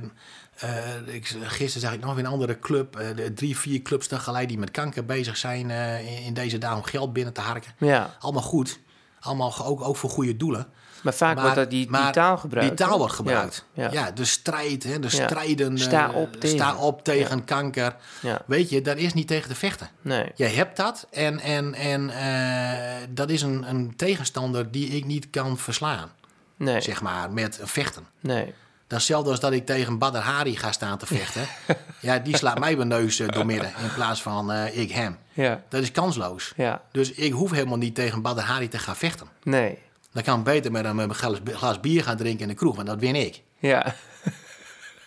eh, ik, gisteren zag ik nog weer een andere club. eh, de drie, vier clubs tegelijk die met kanker bezig zijn. eh, in, in deze dagen om geld binnen te harken.
Ja,
Allemaal goed. Allemaal ge- ook, ook voor goede doelen.
maar vaak
Maar-
wordt dat die, die
maar
taal gebruikt.
Die taal
hè?
wordt gebruikt.
Ja,
Ja,
ja, ja.
de strijd, hè, de
Ja.
strijdende.
Sta op tegen.
sta op tegen kanker. Weet je, daar is niet tegen te vechten.
nee.
Je hebt dat en, en, en eh, dat is een, een tegenstander die ik niet kan verslaan,
Nee,
zeg maar, met vechten.
nee.
Dat is hetzelfde als dat ik tegen Badr Hari ga staan te
[LAUGHS]
vechten. ja, die slaat mij mijn neus eh, doormidden in plaats van eh, ik hem.
Ja,
Dat is kansloos.
ja,
Dus ik hoef helemaal niet tegen Badr Hari te gaan vechten.
nee.
Dan kan ik beter met een, met een glas, glas bier gaan drinken in de kroeg, want dat win ik.
Ja,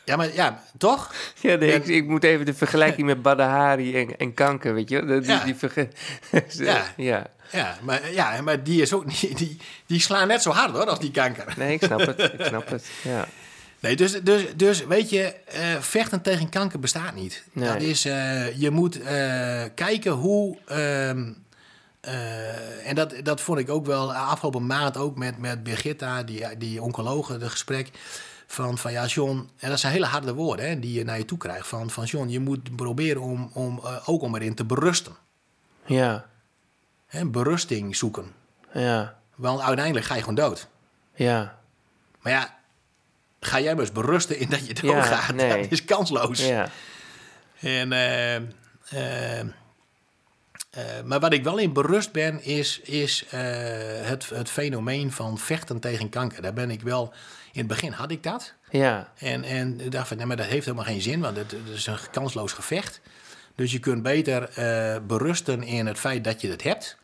Ja, maar [LAUGHS] ja, toch?
ja nee,
En-
ik, ik moet even de vergelijking met Badahari en, en kanker, weet je wel. Dat- Die,
Ja.
die verge- [LAUGHS]
Ja.
ja.
Ja, maar, ja, maar die, is ook, [LAUGHS] niet- die, die slaan net zo hard hoor, als die kanker.
Nee, ik snap het. Ik snap het. Ja.
Nee, dus, dus, dus weet je, eh, vechten tegen kanker bestaat niet.
Nee.
Dat is, eh, je moet eh, kijken hoe. ehm, eh, en dat, dat vond ik ook wel afgelopen maand ook met, met Birgitta, die, die oncologe, het gesprek. Van, van ja, John, en dat zijn hele harde woorden hè, die je naar je toe krijgt. Van, van John, je moet proberen om, om eh, ook om erin te berusten.
Ja.
Hè, berusting zoeken.
Ja.
Want uiteindelijk ga je gewoon dood.
Ja.
Maar ja, ga jij maar eens berusten in dat je
Ja,
doodgaat.
nee.
Dat is kansloos.
Ja.
En, eh, eh, eh, maar wat ik wel in berust ben, is, is eh, het, het fenomeen van vechten tegen kanker. Daar ben ik wel... In het begin had ik dat.
Ja.
En, en ik dacht van, nee, maar dat heeft helemaal geen zin, want het, het is een kansloos gevecht. Dus je kunt beter eh, berusten in het feit dat je het hebt.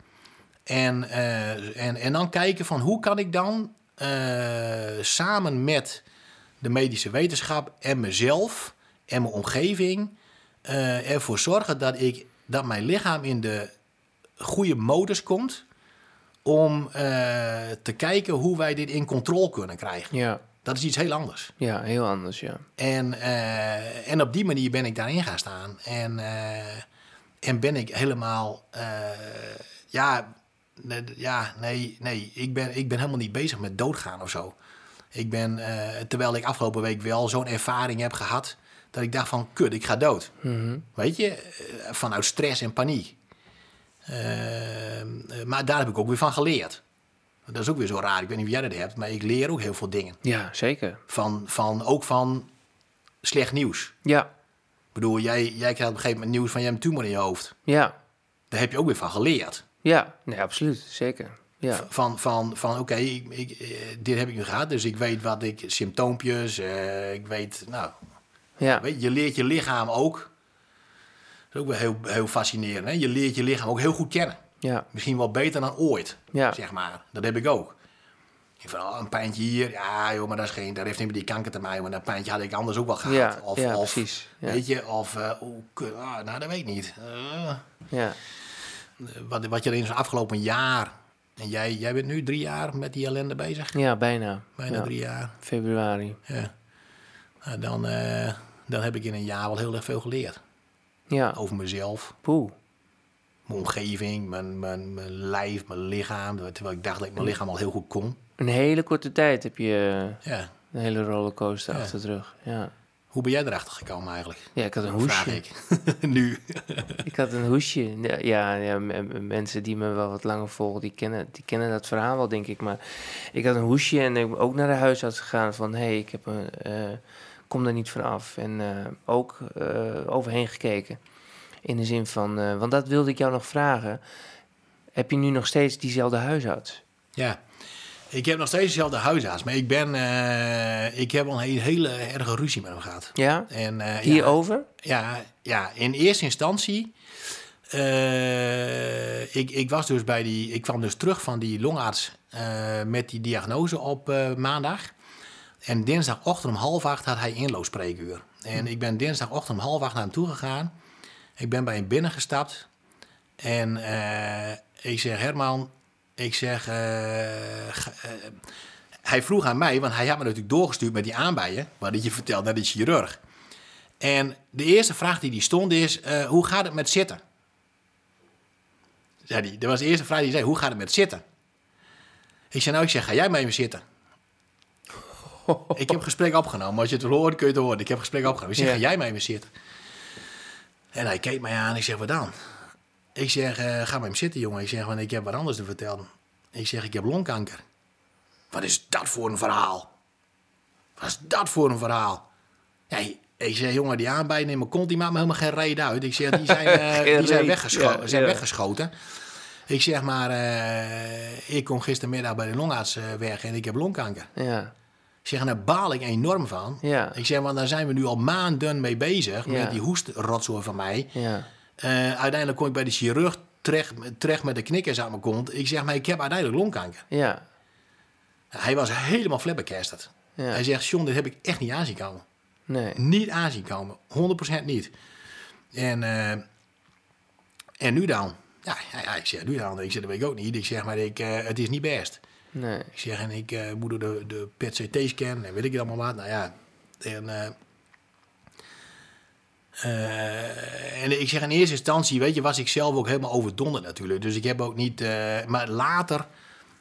En, eh, en, en dan kijken van hoe kan ik dan eh, samen met de medische wetenschap en mezelf en mijn omgeving eh, ervoor zorgen dat, ik, dat mijn lichaam in de goede modus komt om eh, te kijken hoe wij dit in controle kunnen krijgen.
Ja.
Dat is iets heel anders.
Ja, heel anders, ja.
En, eh, en op die manier ben ik daarin gaan staan. En, eh, en ben ik helemaal. eh, ja, nee, ja, nee, nee. Ik ben, ik ben helemaal niet bezig met doodgaan of zo. Ik ben, eh, terwijl ik afgelopen week wel zo'n ervaring heb gehad. dat ik dacht van, kut, ik ga dood.
Mhm.
Weet je, eh, vanuit stress en paniek. Eh, maar daar heb ik ook weer van geleerd. Dat is ook weer zo raar. Ik weet niet of jij dat hebt, maar ik leer ook heel veel dingen.
Ja, zeker.
Van, van, ook van slecht nieuws.
Ja,
Ik bedoel, jij, jij krijgt op een gegeven moment nieuws van je hebt een tumor in je hoofd.
ja,
Daar heb je ook weer van geleerd.
ja. Nee, absoluut, zeker. Ja,
Van, van, van oké, ik, ik, eh, dit heb ik nu gehad, dus ik weet wat ik, symptoompjes, eh, ik weet, nou,
ja,
weet, je, je leert je lichaam ook. Dat is ook wel heel, heel fascinerend, hè? Je leert je lichaam ook heel goed kennen.
ja,
Misschien wel beter dan ooit,
Ja.
zeg maar. Dat heb ik ook. Ik Van, oh, een pijntje hier, ja joh, maar dat, is geen, dat heeft niet met die kanker te maken, maar dat pijntje had ik anders ook wel gehad.
ja,
of,
ja,
of,
precies. Ja,
Weet je, of, eh, oh, kut, ah, nou dat weet ik niet. Eh.
ja,
wat, wat je er in zo'n afgelopen jaar. En jij, jij bent nu drie jaar met die ellende bezig.
ja bijna.
Bijna
Ja,
drie jaar.
Februari.
Ja. Nou, dan, eh, dan heb ik in een jaar wel heel erg veel geleerd.
Ja,
Over mezelf,
poeh.
mijn omgeving, mijn, mijn, mijn lijf, mijn lichaam. Terwijl ik dacht dat ik mijn lichaam al heel goed kon.
Een hele korte tijd heb je eh,
Ja.
een hele rollercoaster
Ja.
achter de rug. Ja.
Hoe ben jij erachter gekomen eigenlijk?
ja, ik had een
Vraag
hoesje.
ik. [LAUGHS] nu.
Ik had een hoesje. Ja, Ja, ja, m- m- mensen die me wel wat langer volgen, die kennen, die kennen dat verhaal wel, denk ik. Maar ik had een hoesje en ik ben ook naar de huisarts gegaan van... hé, hey, ik heb een, eh, kom daar niet van af. En eh, ook eh, overheen gekeken. In de zin van, eh, want dat wilde ik jou nog vragen. Heb je nu nog steeds diezelfde huisarts?
Ja. Ik heb nog steeds dezelfde huisarts. Maar ik ben... eh, ik heb al een hele erge ruzie met hem gehad.
Ja?
En, eh, ja,
Hierover?
Ja, ja in eerste instantie. eh, ik, ik, was dus bij die, ik kwam dus terug van die longarts eh, met die diagnose op eh, maandag. En dinsdagochtend om half acht had hij inloopspreekuur. En ik ben dinsdagochtend om half acht naar hem toe gegaan. Ik ben bij hem binnengestapt. En eh, ik zeg, Herman, Ik zeg, eh, ga- eh, hij vroeg aan mij, want hij had me natuurlijk doorgestuurd met die aanbijen, wat dat je vertelt naar die chirurg. En de eerste vraag die die stond is, eh, hoe gaat het met zitten? Zei die, dat was de eerste vraag die hij zei, hoe gaat het met zitten? Ik zei, nou, ik zeg, ga jij maar even zitten. Ik heb gesprek opgenomen. Als je het wil horen, kun je het horen. Ik heb gesprek opgenomen. Ik zeg,
Ja.
ga jij maar even zitten. En hij keek mij aan. Ik zeg, wat dan? Ik zeg, eh, ga maar even zitten, jongen. Ik zeg, want ik heb wat anders te vertellen. Ik zeg, ik heb longkanker. Wat is dat voor een verhaal? Wat is dat voor een verhaal? Hey, ik zeg, jongen, die aanbijten in mijn kont, die maakt me helemaal geen reet uit. Ik zeg, die
[LAUGHS]
zijn, eh,
Geen
die zijn,
reet.
weggescho-
Ja,
zijn
ja.
weggeschoten. Ik zeg maar, eh, ik kom gistermiddag bij de longarts eh, weg en ik heb longkanker.
Ja.
Ik zeg, en daar baal ik enorm van.
Ja.
Ik zeg, want daar zijn we nu al maanden mee bezig
Ja.
met die hoestrotzooi van mij.
Ja.
Eh, uiteindelijk kom ik bij de chirurg terecht, terecht met de knikkers aan mijn kont. Ik zeg, maar ik heb uiteindelijk longkanker.
Ja.
Hij was helemaal flabbergasted.
Ja.
Hij zegt, John, dit heb ik echt niet aanzien komen.
Nee.
Niet aanzien komen. 100% niet. En, eh, en nu dan? Ja, ja, ja, ik zeg, nu dan? Ik zeg, dat weet ik ook niet. Ik zeg, maar ik, eh, het is niet best.
Nee.
Ik zeg, en ik eh, moet door de, de PET-CT-scan en weet ik het allemaal wat. Nou ja, en... eh, eh, en ik zeg in eerste instantie, weet je, was ik zelf ook helemaal overdonderd natuurlijk. Dus ik heb ook niet... eh, maar later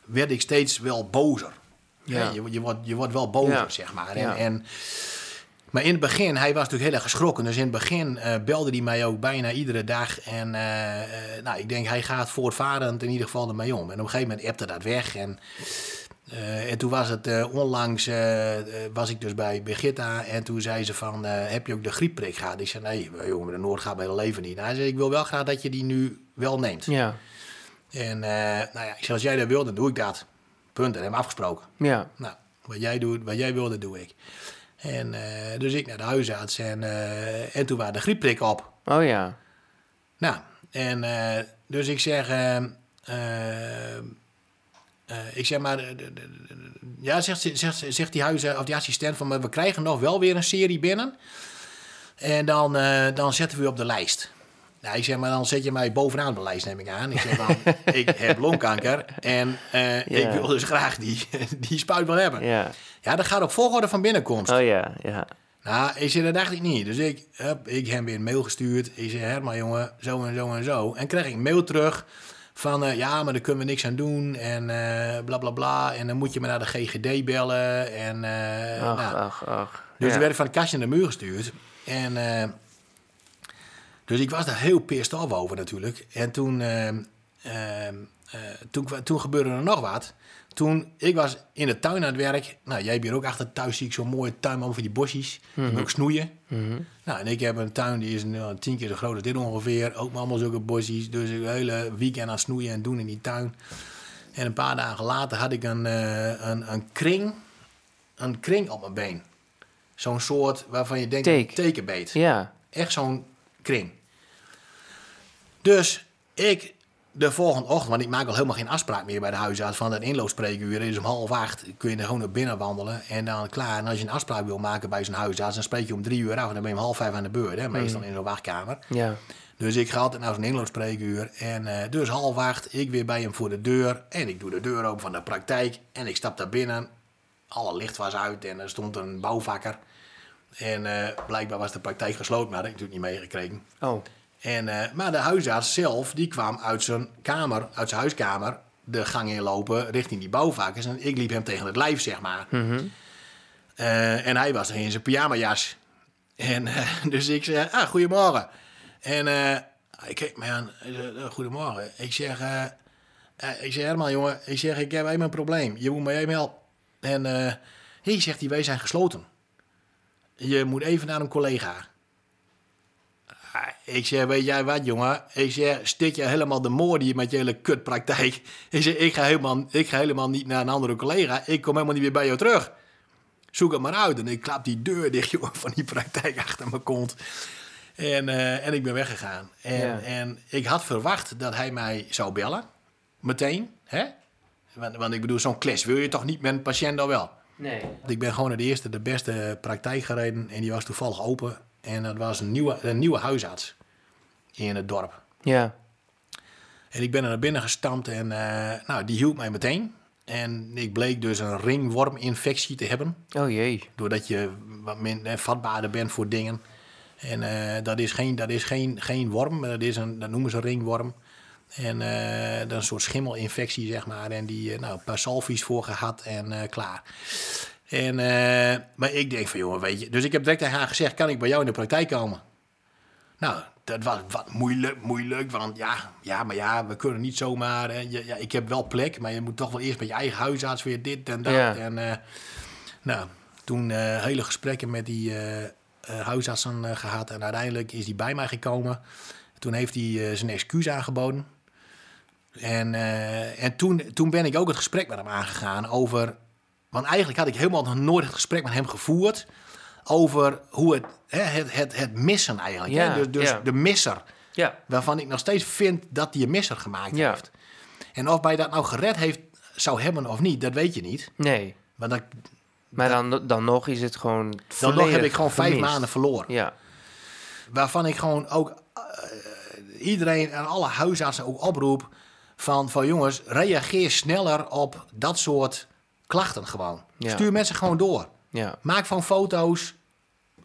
werd ik steeds wel bozer.
Ja.
Ja. Je, je, wordt, je wordt wel bozer,
Ja.
zeg maar. En,
Ja.
en, maar in het begin, hij was natuurlijk heel erg geschrokken. Dus in het begin eh, belde hij mij ook bijna iedere dag. En eh, eh, nou, ik denk, hij gaat voortvarend in ieder geval ermee om. En op een gegeven moment appte dat weg. En, eh, en toen was het eh, onlangs, eh, eh, was ik dus bij Birgitta en toen zei ze van, eh, heb je ook de griepprik gehad? Ik zei, nee, maar jongen, de Noord gaat mijn hele leven niet. Nou, hij zei, ik wil wel graag dat je die nu wel neemt.
Ja.
En eh, nou ja, ik zei, als jij dat wil, dan doe ik dat. Punt, dat hebben we afgesproken.
Ja.
Nou, wat jij, doet, wat jij wil, dat doe ik. En eh, dus ik naar de huisarts en, eh, en toen waren de griepprik op.
Oh ja.
Nou, en eh, dus ik zeg, eh, eh, eh, ik zeg maar, eh, de- de- de- de- ja, zegt, zegt, zegt die huizen of die assistent van, maar we krijgen nog wel weer een serie binnen. En dan, eh, dan zetten we u op de lijst. Nou, ik zeg maar, dan zet je mij bovenaan de lijst, neem ik aan. Ik zeg
[LAUGHS]
dan, ik heb longkanker en eh,
Ja.
ik wil dus graag die, [LAUGHS] die spuit wel hebben.
Ja.
Ja, dat gaat op volgorde van binnenkomst.
Oh ja. Ja.
Nou, ik zei, dat dacht ik niet. Dus ik heb ik hem weer een mail gestuurd. Ik zei, Herman jongen, zo en zo en zo. En kreeg ik een mail terug van, eh, ja, maar daar kunnen we niks aan doen. En eh bla, bla, bla. En dan moet je maar naar de GGD bellen. En, eh,
Ach,
nou.
ach, ach.
Dus
ja.
ik werd van het kastje naar de muur gestuurd. En, eh, dus ik was daar heel pissed af over natuurlijk. En toen, eh, eh, eh, toen, kwa- toen gebeurde er nog wat. Toen, ik was in de tuin aan het werk. Nou, jij hebt hier ook achter thuis, zie ik zo'n mooie tuinman voor die bosjes. Die moet ook snoeien. Nou, en ik heb een tuin die is nou, tien keer zo groot als dit ongeveer. Ook met allemaal zulke bosjes. Dus ik het hele weekend aan het snoeien en doen in die tuin. En een paar dagen later had ik een, eh, een, een kring, een kring op mijn been. Zo'n soort waarvan je denkt,
Teek.
een tekenbeet.
Ja.
Echt zo'n kring. Dus ik de volgende ochtend, want ik maak al helemaal geen afspraak meer bij de huisarts van dat inloopspreekuur. is om half acht, kun je er gewoon naar binnen wandelen en dan klaar. En als je een afspraak wil maken bij zo'n huisarts, dan spreek je om drie uur af en dan ben je om half vijf aan de beurt, hè, meestal in zo'n wachtkamer.
Ja.
Dus ik ga altijd naar zo'n inloopspreekuur. En eh, dus half acht, ik weer bij hem voor de deur. En ik doe de deur open van de praktijk. En ik stap daar binnen. Alle licht was uit en er stond een bouwvakker. En eh, blijkbaar was de praktijk gesloten, maar dat heb ik natuurlijk niet meegekregen.
Oh.
En, eh, maar de huisarts zelf, die kwam uit zijn kamer, uit zijn huiskamer, de gang inlopen richting die bouwvakkers. En ik liep hem tegen het lijf, zeg maar. Eh, en hij was in zijn pyjamajas. En eh, [LAUGHS] dus ik zeg, ah, goedemorgen. En eh, hij keek mij aan, Hij zei, "Eh, goedemorgen. Ik zeg, eh, eh, ik zeg, Herman, jongen, ik zeg, ik heb even een probleem. Je moet mij even helpen. En eh hij zegt, die wij zijn gesloten. Je moet even naar een collega. Ah, Ik zeg, weet jij wat, jongen? Ik zeg, stik je helemaal de moord hier met je hele kutpraktijk. Ik zeg, ik ga, helemaal, ik ga helemaal niet naar een andere collega. Ik kom helemaal niet weer bij jou terug. Zoek het maar uit. En ik klap die deur dicht, [LAUGHS] jongen, van die praktijk achter mijn kont. En, eh, en ik ben weggegaan. En,
Ja.
en ik had verwacht dat hij mij zou bellen. Meteen. Hè? Want, want ik bedoel, zo'n clash wil je toch niet met een patiënt dan wel?
Nee.
Ik ben gewoon naar de eerste, de beste praktijk gereden. En die was toevallig open. En dat was een nieuwe, een nieuwe huisarts in het dorp.
Ja.
En ik ben er naar binnen gestampt en eh, nou, die hielp mij meteen. En ik bleek dus een ringworminfectie te hebben.
Oh jee.
Doordat je wat minder vatbaarder bent voor dingen. En eh, dat is, geen, dat is geen, geen worm, maar dat, is een, dat noemen ze ringworm. En eh, dat is een soort schimmelinfectie, zeg maar. En die, eh, nou, een paar salvies voor gehad en eh, klaar. En, eh, maar ik denk van, jongen, weet je... Dus ik heb direct tegen haar gezegd, kan ik bij jou in de praktijk komen? Nou, dat was wat moeilijk, moeilijk. Want ja, ja maar ja, we kunnen niet zomaar... eh, ja, ja, ik heb wel plek, maar je moet toch wel eerst bij je eigen huisarts weer dit en dat.
Ja.
En, eh, nou, toen eh, hele gesprekken met die eh, eh, huisartsen eh, gehad. En uiteindelijk is hij bij mij gekomen. Toen heeft hij eh, zijn excuus aangeboden. En, eh, en toen, toen ben ik ook het gesprek met hem aangegaan over... Want eigenlijk had ik helemaal nog nooit het gesprek met hem gevoerd... over hoe het, hè, het, het, het missen eigenlijk.
Ja,
hè? Dus, dus
ja.
de misser.
Ja.
Waarvan ik nog steeds vind dat hij een misser gemaakt
Ja.
heeft. En of mij dat nou gered heeft, zou hebben of niet, dat weet je niet.
Nee.
Want dan,
Maar dan, dan nog is het gewoon
dan nog heb
volledig
ik gewoon vijf
gemist.
maanden verloren.
Ja.
Waarvan ik gewoon ook eh, iedereen en alle huisartsen ook oproep van, van jongens, reageer sneller op dat soort klachten gewoon.
Ja.
Stuur mensen gewoon door.
Ja.
Maak van foto's.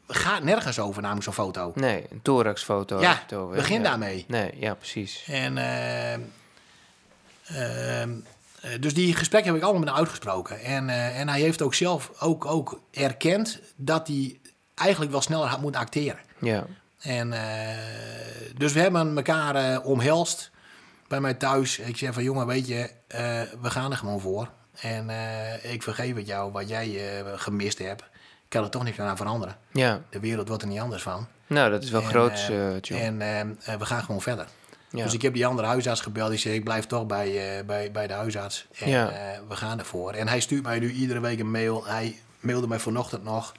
Ga nergens over namelijk zo'n foto.
Nee, een thoraxfoto.
Ja,
heb je het over.
begin
Ja.
daarmee.
Nee, ja, precies.
En, ehm, ehm, eh, dus die gesprekken heb ik allemaal met hem uitgesproken. En, eh, en hij heeft ook zelf ook, ook erkend dat hij eigenlijk wel sneller had moeten acteren.
Ja.
En, eh, dus we hebben elkaar eh, omhelst bij mij thuis. Ik zei van, jongen, weet je, eh, we gaan er gewoon voor. En eh, ik vergeef het jou wat jij eh, gemist hebt. Ik kan er toch niks aan veranderen.
Ja.
De wereld wordt er niet anders van.
Nou, dat is wel
En,
groots,
eh,
eh, John.
En eh, eh, we gaan gewoon verder.
Ja.
Dus ik heb die andere huisarts gebeld. Die zei, ik blijf toch bij, eh, bij, bij de huisarts. En
Ja.
eh, we gaan ervoor. En hij stuurt mij nu iedere week een mail. Hij mailde mij vanochtend nog.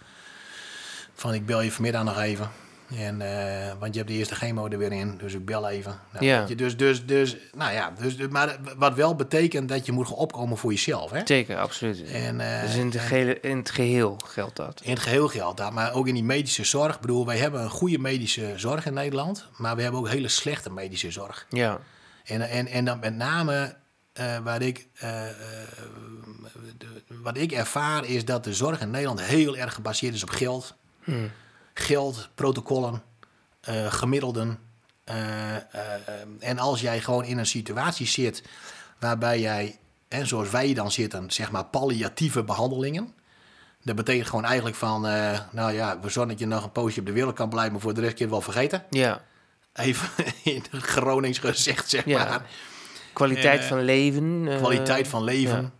Van, ik bel je vanmiddag nog even. En, eh, want je hebt de eerste chemo er weer in. Dus ik bel even. Nou,
Ja.
weet je, dus, dus, dus, nou ja. Dus, dus- maar wat wel betekent dat je moet gaan opkomen voor jezelf. Hè?
Zeker, absoluut.
En, eh,
dus in het, gehele, in het geheel geldt dat.
in het geheel geldt dat, maar ook in die medische zorg. Ik bedoel, wij hebben een goede medische zorg in Nederland, maar we hebben ook hele slechte medische zorg.
Ja.
En, en, en dan met name eh, waar ik, eh, eh, de- wat ik ervaar is dat de zorg in Nederland heel erg gebaseerd is op geld. Geld, protocollen, eh, gemiddelden. Eh, eh, eh, en als jij gewoon in een situatie zit waarbij jij, en zoals wij dan zitten, zeg maar palliatieve behandelingen. Dat betekent gewoon eigenlijk van, eh, nou ja, we zorgen dat je nog een poosje op de wereld kan blijven, maar voor de rest keer wel vergeten.
Ja.
Even [LAUGHS] in het Gronings gezegd, zeg
Ja.
maar.
Kwaliteit
eh,
van leven. eh,
Kwaliteit van leven.
ja.
En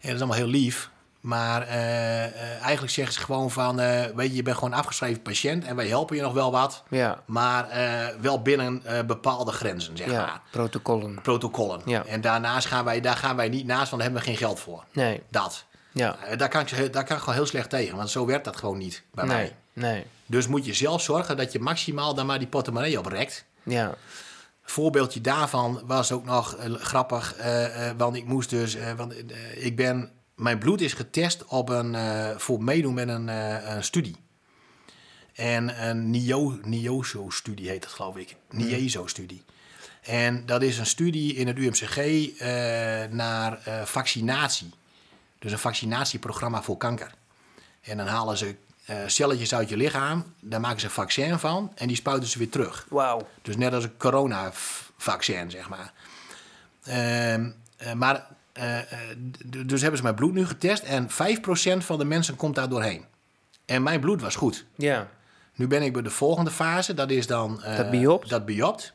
dat is allemaal heel lief. Maar eh, eh, eigenlijk zeggen ze gewoon van... eh, weet je, je bent gewoon een afgeschreven patiënt... en wij helpen je nog wel wat.
Ja.
Maar eh, wel binnen eh, bepaalde grenzen, zeg
Ja.
maar.
Protocollen.
Protocollen.
Ja.
En daarnaast gaan wij, daar gaan wij niet naast... want daar hebben we geen geld voor.
Nee.
Dat.
Ja.
Eh, daar, kan ik, ze- daar kan ik gewoon heel slecht tegen. Want zo werkt dat gewoon niet bij
nee.
mij.
Nee.
Dus moet je zelf zorgen dat je maximaal... dan maar die portemonnee oprekt
Ja.
voorbeeldje daarvan was ook nog eh, grappig. eh, eh, want ik moest dus. eh, want eh, ik ben. Mijn bloed is getest op een, eh, voor meedoen met een, eh, een studie. En een NIO, NIOSO-studie heet dat, geloof ik. NIESO-studie. En dat is een studie in het UMCG eh, naar eh, vaccinatie. Dus een vaccinatieprogramma voor kanker. En dan halen ze eh, celletjes uit je lichaam, daar maken ze een vaccin van en die spuiten ze weer terug.
Wauw.
Dus net als een coronavaccin, zeg maar. Ehm, eh, maar eh, eh, d- dus hebben ze mijn bloed nu getest en 5% van de mensen komt daar doorheen. En mijn bloed was goed.
Ja.
Nu ben ik bij de volgende fase, dat is dan... eh,
Dat biopt?
Dat biopt.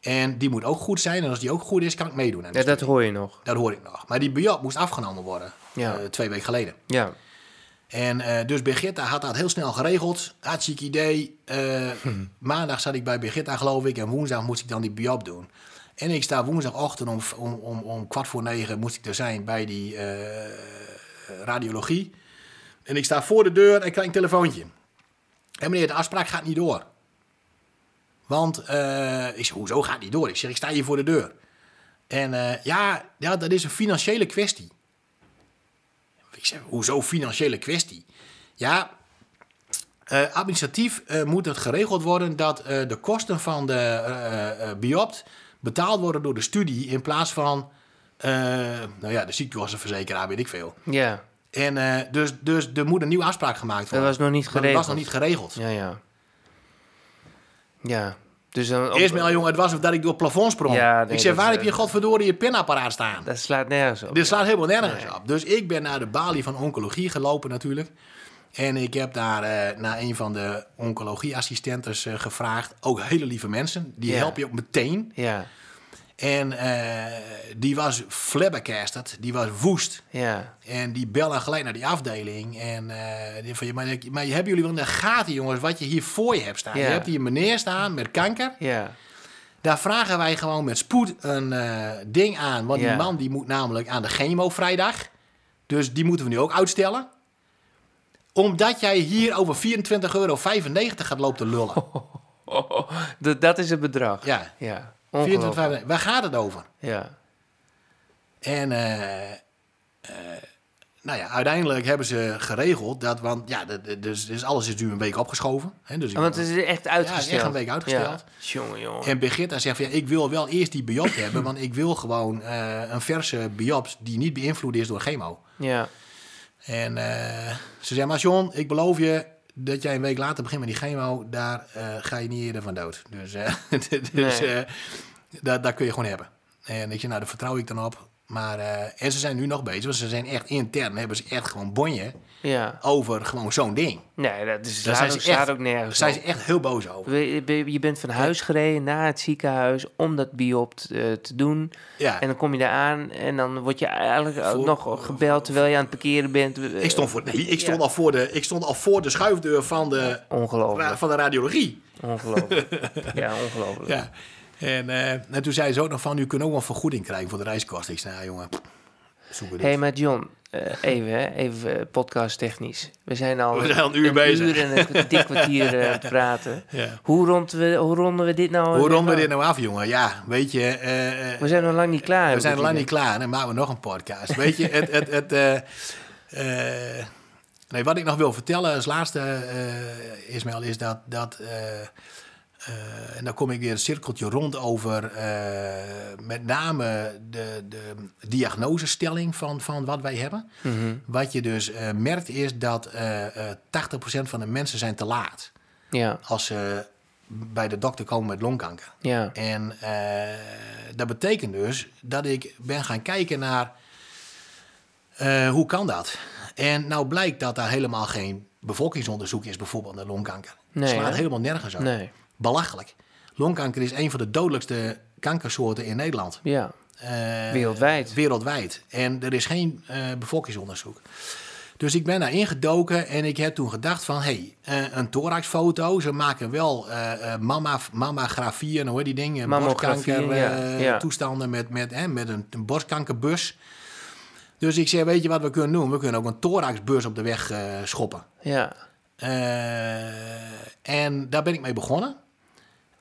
En die moet ook goed zijn en als die ook goed is, kan ik meedoen. aan de
ja. Dat
studie.
hoor je nog.
dat hoor ik nog. Maar die biopt moest afgenomen worden,
Ja.
eh, twee weken geleden.
Ja.
En eh, dus Birgitta had dat heel snel geregeld. Hartstikke idee. Eh, Maandag zat ik bij Birgitta, geloof ik. En woensdag moest ik dan die biop doen. En ik sta woensdagochtend om, om, om, om kwart voor negen moest ik er zijn bij die eh, radiologie. En ik sta voor de deur en krijg een telefoontje. En meneer, de afspraak gaat niet door. Want eh, ik zeg, hoezo gaat het niet door? Ik zeg, ik sta hier voor de deur. En eh, ja, ja, dat is een financiële kwestie. Ik zeg, hoezo financiële kwestie? Ja, eh, administratief eh, moet het geregeld worden dat eh, de kosten van de eh eh, biopt betaald worden door de studie in plaats van eh, nou ja, de ziektekostenverzekeraar, weet ik veel.
Ja,
En eh, dus, dus er moet een nieuwe afspraak gemaakt
dat
worden.
was nog niet
Maar dat
geregeld.
was nog niet geregeld.
Ja, ja. Ja, dus dan...
Eerst met al jongen, het was of dat ik door het plafond sprong.
Ja, nee,
ik zeg,
dat
waar
is,
heb je
eh,
godverdorie je pinapparaat staan?
Dat slaat nergens op.
Dit slaat helemaal nergens op. Dus ik ben naar de balie van oncologie gelopen natuurlijk. En ik heb daar eh, naar een van de oncologieassistentes eh, gevraagd. Ook hele lieve mensen. Die
Ja.
helpen je ook meteen.
Ja,
En eh, die was flabbergasted. Die was woest.
ja.
En die bellen gelijk naar die afdeling. En eh, die van, ja, maar, maar hebben jullie wel in de gaten, jongens, wat je hier voor je hebt staan?
Ja.
Je hebt hier een meneer staan met kanker.
Ja,
Daar vragen wij gewoon met spoed een eh, ding aan. Want
Ja.
die man die moet namelijk aan de chemo vrijdag. Dus die moeten we nu ook uitstellen. Omdat jij hier over 24,95 euro gaat lopen te lullen.
Oh, dat, dat is het bedrag.
Ja,
Ja,
24,95.
ongelooflijk.
Waar gaat het over?
Ja,
En eh, eh, nou ja, uiteindelijk hebben ze geregeld dat, want ja, de- de- dus, dus alles is nu een week opgeschoven. Hè, dus ik-
Oh, want het is echt uitgesteld.
echt een week uitgesteld.
Ja. Jongen, jongen.
En Birgitta zegt van ja, ik wil wel eerst die biopt
[CLEARS THROAT]
hebben, want ik wil gewoon eh, een verse biopt die niet beïnvloed is door chemo.
Ja,
En eh, ze zei, maar John, ik beloof je dat jij een week later begint met die chemo, daar eh, ga je niet eerder van dood. Dus, eh, [LAUGHS] dus
Nee.
eh, dat, dat kun je gewoon hebben. En ik zei, nou, daar vertrouw ik dan op. Maar, eh, en ze zijn nu nog bezig, want ze zijn echt intern, hebben ze echt gewoon bonje
ja.
over gewoon zo'n ding.
Nee, dat is,
Daar
slaat, ook,
ze echt-
slaat ook nergens
Daar zijn
op.
ze echt heel boos over.
We- we- Je bent van huis gereden naar het ziekenhuis om dat biopt eh, te doen.
Ja.
En dan kom je daar aan en dan word je eigenlijk
Voor-
nog gebeld terwijl je aan het parkeren bent.
Ik stond, voor, nee, ik, stond al voor de, ik stond al voor de schuifdeur van de, ra-
Ongelooflijk,
van de radiologie. [LAUGHS]
ongelooflijk. ja, ongelooflijk.
Ja. En, eh, en toen zei ze ook nog van, u kunt ook wel een vergoeding krijgen voor de reiskosten. Ik zei, nou jongen, zoek het
Hé, hey, maar John, eh, even, hè, even eh, podcast technisch. We zijn al
We zijn al een uur bezig.
uur en een kwa- dik kwartier eh, aan het praten.
Ja.
Hoe, ronden we, hoe ronden we dit nou?
Hoe
weer
ronden we
af?
dit nou af, jongen? Ja, weet je, eh, eh,
We zijn nog lang niet klaar.
we zijn
nog
lang niet klaar. Dan maken we nog een podcast. Weet je, het... het, het eh, eh, nee, wat ik nog wil vertellen als laatste, eh Ismail, is dat... dat eh, eh, en dan kom ik weer een cirkeltje rond over eh, met name de, de diagnosestelling van, van wat wij hebben.
Mhm.
Wat je dus eh, merkt is dat eh, eh, 80% van de mensen zijn te laat
Ja,
als ze bij de dokter komen met longkanker.
ja,
En eh, dat betekent dus dat ik ben gaan kijken naar eh, hoe kan dat? En nou blijkt dat daar helemaal geen bevolkingsonderzoek is, bijvoorbeeld naar longkanker.
Nee,
slaat
hè?
helemaal nergens op.
nee,
Belachelijk. Longkanker is een van de dodelijkste kankersoorten in Nederland.
ja,
Eh,
Wereldwijd.
Wereldwijd. En er is geen eh, bevolkingsonderzoek. Dus ik ben daar ingedoken en ik heb toen gedacht van... hé, hey, eh, een thoraxfoto, ze maken wel eh eh, mama, mammografieën, hoor die dingen...
Mammografieën,
borstkanker,
ja,
eh,
ja.
toestanden met, met, hè, met een, een borstkankerbus. Dus ik zei, weet je wat we kunnen doen? We kunnen ook een thoraxbus op de weg eh, schoppen.
ja.
Eh, en daar ben ik mee begonnen.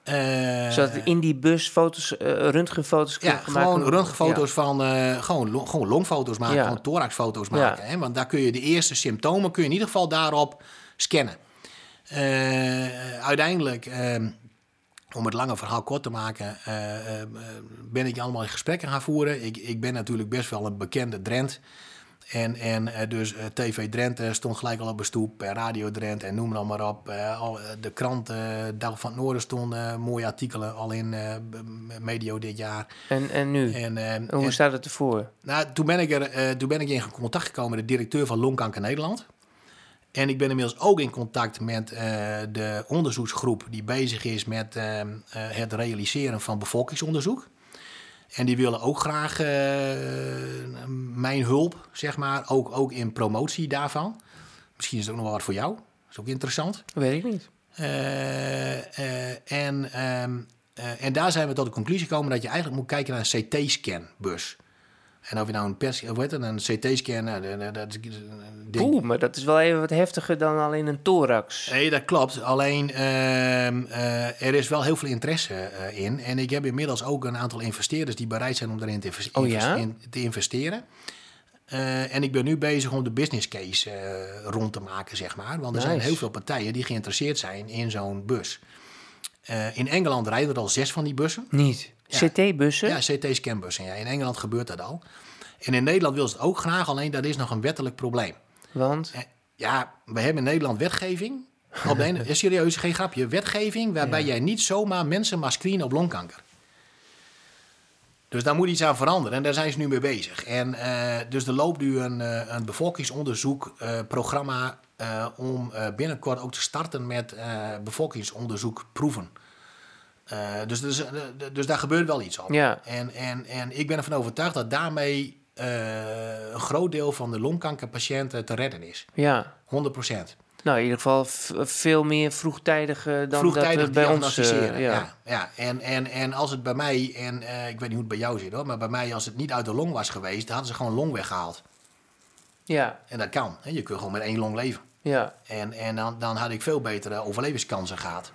Eh,
Zodat in die bus foto's, eh, röntgenfoto's
ja,
kunnen gemaakt
gewoon
worden?
röntgenfoto's van, eh, gewoon, lo- gewoon longfoto's maken,
Ja.
gewoon thoraxfoto's
Ja.
maken. Hè? Want daar kun je de eerste symptomen kun je in ieder geval daarop scannen. Eh, uiteindelijk, ehm, om het lange verhaal kort te maken, eh, eh, eh, ben ik allemaal gesprekken gaan voeren. Ik, ik ben natuurlijk best wel een bekende Drent. En, en eh, dus eh, TV Drenthe stond gelijk al op de stoep, eh, Radio Drenthe en noem maar, allemaal op. Eh, al, eh, de krant eh, Dag van het Noorden stonden eh, mooie artikelen al in eh, b- m- medio dit jaar.
Ja. En, en nu?
En, eh,
En Hoe
en-
staat het ervoor?
nou, toen ben ik, er, eh, toen ben ik in contact gekomen met de directeur van Longkanker Nederland. En ik ben inmiddels ook in contact met eh, de onderzoeksgroep die bezig is met ehm, eh, het realiseren van bevolkingsonderzoek. En die willen ook graag eh, mijn hulp, zeg maar, ook, ook in promotie daarvan. Misschien is het ook nog wel wat voor jou. Dat is ook interessant.
Weet ik niet.
Eh, eh, en, ehm, eh, en daar zijn we tot de conclusie gekomen dat je eigenlijk moet kijken naar een CT-scanbus. En of je nou een, pers, of weet het, een CT-scan, nou, dat- dat- dat is een ding.
Oeh, maar dat is wel even wat heftiger dan alleen een thorax.
Nee, dat klopt. Alleen ehm, eh, er is wel heel veel interesse eh, in. En ik heb inmiddels ook een aantal investeerders die bereid zijn om daarin te, invest-
Oh ja?
in- te investeren. Eh, en ik ben nu bezig om de business case eh, rond te maken, zeg maar. Want er zijn
Nice.
heel veel partijen die geïnteresseerd zijn in zo'n bus. Eh, in Engeland rijden er al zes van die bussen.
Niet.
Ja.
CT-bussen?
Ja, CT-scanbussen. Ja. In Engeland gebeurt dat al. En in Nederland wil ze het ook graag, alleen dat is nog een wettelijk probleem.
Want?
Eh, Ja, we hebben in Nederland wetgeving. Op de ene, ja, serieus, geen grapje. Wetgeving waarbij jij niet zomaar mensen mag screenen op longkanker. Dus daar moet iets aan veranderen en daar zijn ze nu mee bezig. En eh, dus er loopt nu een, eh, een bevolkingsonderzoekprogramma om eh, binnenkort ook te starten met eh, bevolkingsonderzoekproeven. Eh, dus, dus, eh, dus daar gebeurt wel iets op.
Ja.
En, en, en ik ben ervan overtuigd dat daarmee eh, een groot deel van de longkankerpatiënten te redden is.
Ja.
100 procent.
Nou, in ieder geval v- veel meer vroegtijdig eh, dan dat we bij ons... eh,
diagnosticeren.
ja.
ja. Ja, En, en, en als het bij mij, en eh, ik weet niet hoe het bij jou zit hoor, maar bij mij als het niet uit de long was geweest, dan hadden ze gewoon long weggehaald.
ja,
En dat kan. Hè? Je kunt gewoon met één long leven.
ja.
En, en dan, dan had ik veel betere overlevingskansen gehad.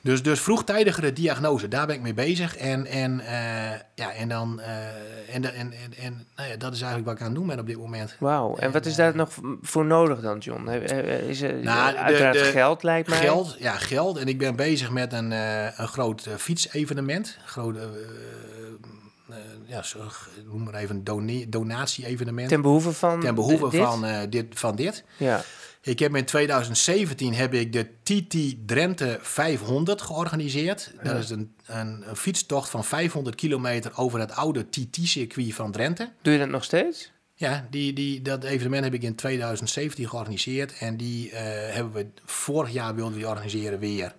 Dus, dus vroegtijdigere diagnose, daar ben ik mee bezig. En, en, eh, ja, en, dan, eh, en, en, en, en nou ja, dat is eigenlijk wat ik aan het doen ben op dit moment.
Wauw. En wat is daar nog v- voor nodig dan, John? He- he- Is er
eh, Nou, de-
uiteraard
de-
geld, lijkt mij.
Geld, ja, geld. En ik ben bezig met een, eh, een groot eh, fietsevenement. Een groot, eh, eh, ja, zo, noem maar even een done- donatie-evenement. Ten,
Ten behoeve van
behoeve
d- dit?
Van, eh, dit, van dit.
Ja.
Ik heb in 2017 heb ik de TT Drenthe 500 georganiseerd. Dat is een, een, een fietstocht van 500 kilometer over het oude TT-circuit van Drenthe.
Doe je dat nog steeds?
Ja, die, die, dat evenement heb ik in 2017 georganiseerd. En die eh, hebben we vorig jaar wilden we die organiseren weer.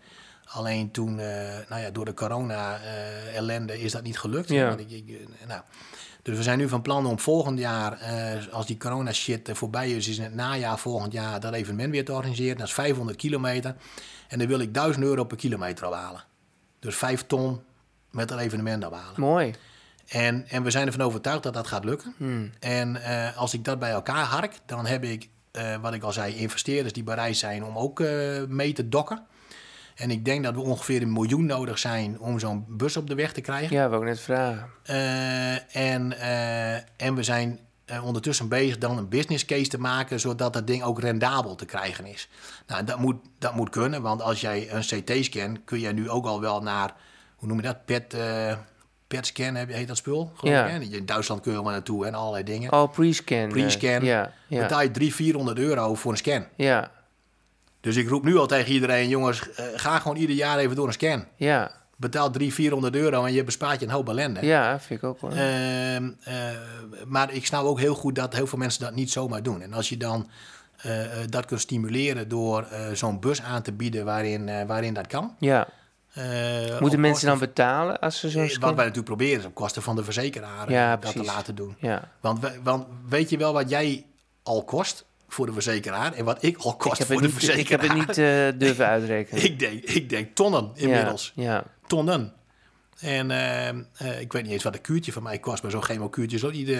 Alleen toen, eh, nou ja, door de corona-ellende is dat niet gelukt.
Ja.
Want ik- ik, eh, nou. Dus we zijn nu van plan om volgend jaar, eh, als die corona-shit eh, voorbij is, is in het najaar volgend jaar dat evenement weer te organiseren. Dat is 500 kilometer. En daar wil ik 1000 euro per kilometer op halen. Dus 5 ton met dat evenement op halen.
Mooi.
En, en we zijn ervan overtuigd dat dat gaat lukken. En eh, als ik dat bij elkaar hark, dan heb ik, eh, wat ik al zei, investeerders die bereid zijn om ook eh, mee te dokken. En ik denk dat we ongeveer een miljoen nodig zijn om zo'n bus op de weg te krijgen.
Ja, wou ik net vragen.
Eh, en, eh, en we zijn eh, ondertussen bezig dan een business case te maken, zodat dat ding ook rendabel te krijgen is. Nou, dat moet, dat moet kunnen, want als jij een CT-scan, kun jij nu ook al wel naar, hoe noem je dat, PET, eh, PET-scan heb- heet dat spul? geloof
Ja.
ik, hè? In Duitsland kun je wel naartoe en allerlei dingen.
Al pre-scan. eh,
Pre-scan.
Ja, ja.
Betaal je 300, 400 euro voor een scan.
Ja,
Dus ik roep nu al tegen iedereen, jongens, eh, ga gewoon ieder jaar even door een scan.
ja.
Betaal 300, 400 euro en je bespaart je een hoop ellende.
Ja, vind ik ook wel.
Ehm, eh, maar ik snap ook heel goed dat heel veel mensen dat niet zomaar doen. En als je dan eh, eh, dat kunt stimuleren door eh, zo'n bus aan te bieden waarin, eh, waarin dat kan.
ja.
Eh, op
Moeten mensen dan
kosten-
betalen als ze zo'n
eh, Wat
scan...
wij natuurlijk proberen is op kosten van de verzekeraar eh,
Ja,
dat te
precies.
laten doen.
Ja.
Want, we- want weet je wel wat jij al kost voor de verzekeraar en wat ik al
Ik
kost
heb,
voor
het
de
niet, ik heb
verzekeraar?
het niet eh, durven uitrekenen.
[LAUGHS] Ik denk, ik denk tonnen inmiddels.
Ja, ja.
Tonnen. En eh, eh, ik weet niet eens wat een kuurtje van mij kost, maar zo'n chemokuurtje is ook niet, eh,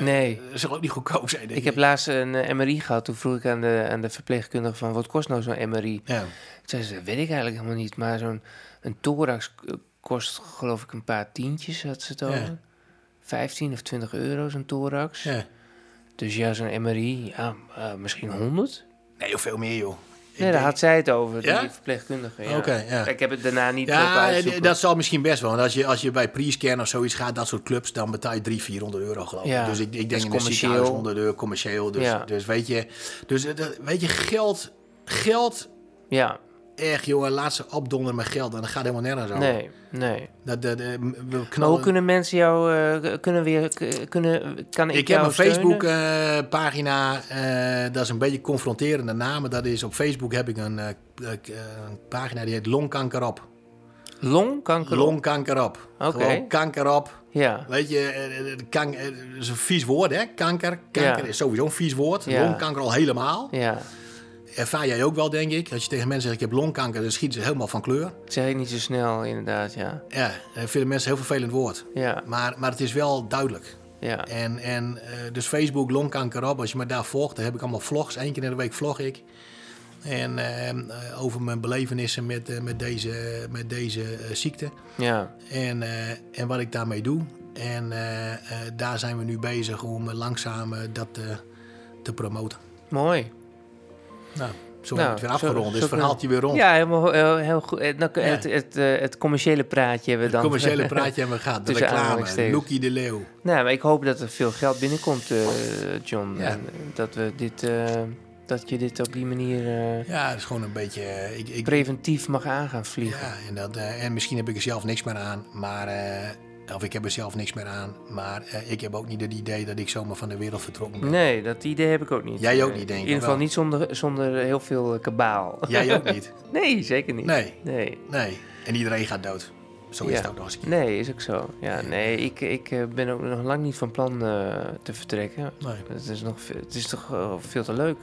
Nee.
Dat zal ook niet goedkoop zijn, denk
Ik
ik.
heb laatst een eh, MRI gehad. Toen vroeg ik aan de, aan de verpleegkundige van... wat kost nou zo'n MRI?
Ja.
Ik zei, dat weet ik eigenlijk helemaal niet. Maar zo'n een thorax eh, kost geloof ik een paar tientjes, had ze het
Ja.
over. 15 of 20 euro zo'n thorax.
Ja.
Dus ja, zo'n MRI, ja, eh, misschien 100.
Nee, of veel meer, joh. Ik
Nee, daar
denk-
had zij het over, die
Ja?
verpleegkundige. Ja.
Oké, ja.
Ik heb het daarna niet lopen
Ja, eh,
uitzoeken.
dat zal misschien best wel. Want als je, als je bij pre-scan of zoiets gaat, dat soort clubs, dan betaal je 300, 400 euro, geloof ik.
Ja,
dus ik, ik
dat
denk
is
in een
commercieel.
ziekenhuis 100 euro, commercieel. Dus,
Ja.
dus weet je, dus, eh, dat- weet je geld, geld,
Ja,
echt, jongen, laat ze opdonderen met geld. En dat gaat helemaal nergens over.
nee, nee.
Dat, dat, eh, m- we
Maar hoe
knallen...
kunnen mensen jou, eh, kunnen weer, k- kunnen, kan ik,
Ik heb
jou
een
steunen?
Facebook-pagina, eh, dat is een beetje confronterende naam. Dat is op Facebook heb ik een, eh, k- eh, een pagina die heet Longkanker op. eh,
Longkanker?
Longkanker op.
Oké.
Gewoon kanker op.
Ja,
Weet je, eh, eh, kank- eh, dat is een vies woord, hè? Kanker. Kanker
Ja.
is sowieso een vies woord.
Ja.
Longkanker al helemaal.
ja.
Ervaar jij ook wel, denk ik. Als je tegen mensen zegt, ik heb longkanker, dan schieten ze helemaal van kleur.
Dat zeg ik niet zo snel inderdaad, ja.
Ja, dat vinden mensen een heel vervelend woord.
Ja,
Maar, maar het is wel duidelijk.
ja.
En, en eh, dus Facebook, longkanker op. Als je me daar volgt, dan heb ik allemaal vlogs. Eén keer in de week vlog ik. En ehm, eh, over mijn belevenissen met, eh, met deze, met deze eh, ziekte.
Ja,
En, eh, en wat ik daarmee doe. En eh, eh, daar zijn we nu bezig om eh, langzaam eh, dat eh, te promoten.
mooi.
Nou, zo
Nou,
wordt het weer
zo-
afgerond.
zo
Dus het
kunnen-
verhaaltje weer rond.
Ja, helemaal heel, heel goed. Eh, nou,
Ja.
Het, het, eh, het commerciële praatje hebben we dan.
Het
[LAUGHS]
commerciële praatje hebben we gehad. De
Tussen
reclame.
aanhalingstekens.
Loekie de Leeuw.
nou, maar ik hoop dat er veel geld binnenkomt, eh, John.
Ja.
En dat, we dit, eh, dat je dit op die manier eh,
Ja, dat is gewoon een beetje... eh, Ik, ik,
preventief mag aan gaan vliegen.
ja, en, dat, eh, en misschien heb ik er zelf niks meer aan. Maar, eh, of ik heb er zelf niks meer aan. Maar eh, ik heb ook niet het idee dat ik zomaar van de wereld vertrokken
[LAUGHS]
ben.
Nee, dat idee heb ik ook niet.
Jij ook
Eh,
niet, denk ik,
In ieder geval
wel.
niet zonder, zonder heel veel eh, kabaal.
Jij ook niet.
[LAUGHS] Nee, zeker niet.
Nee,
Nee.
nee. En iedereen gaat dood. Zo is
Ja.
het ook nog eens een keer.
Nee, is ook zo. Ja, nee, ik, ik eh, ben ook nog lang niet van plan eh, te vertrekken.
Nee.
Het is, nog, ve- het is toch eh, veel te leuk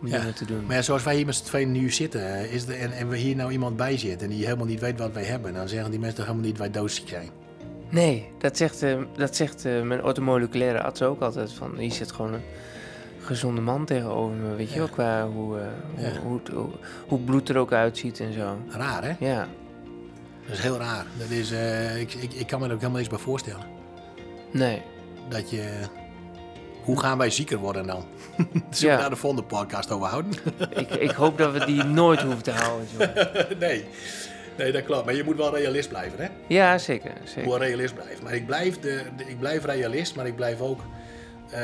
om
Ja,
dingen te doen.
Maar ja, zoals wij hier met z'n tweeën nu zitten, eh, is er, en, en we hier nou iemand bij zitten die helemaal niet weet wat wij hebben, dan zeggen die mensen toch helemaal niet dat wij doodziek zijn.
Nee, dat zegt, eh, dat zegt eh, mijn ortomoleculaire arts ook altijd. Van, hier zit gewoon een gezonde man tegenover me. Weet je
Ja.
wel, qua hoe, eh,
Ja.
hoe, hoe, het- hoe, hoe bloed er ook uitziet en zo.
Raar, hè?
Ja,
Dat is heel raar. Dat is, eh, ik, ik, ik kan me er ook helemaal niks bij voorstellen.
nee.
Dat je. Hoe gaan wij zieker worden dan? [LAUGHS] Zullen
Ja.
we daar de volgende podcast over houden? [LAUGHS]
ik, ik hoop dat we die nooit hoeven te houden. jongen.
nee. nee, dat klopt. Maar je moet wel realist blijven, hè?
Ja, zeker.
Ik
zeker.
wil realist blijven. Maar ik blijf, de, de- ik blijf realist, maar ik blijf ook eh,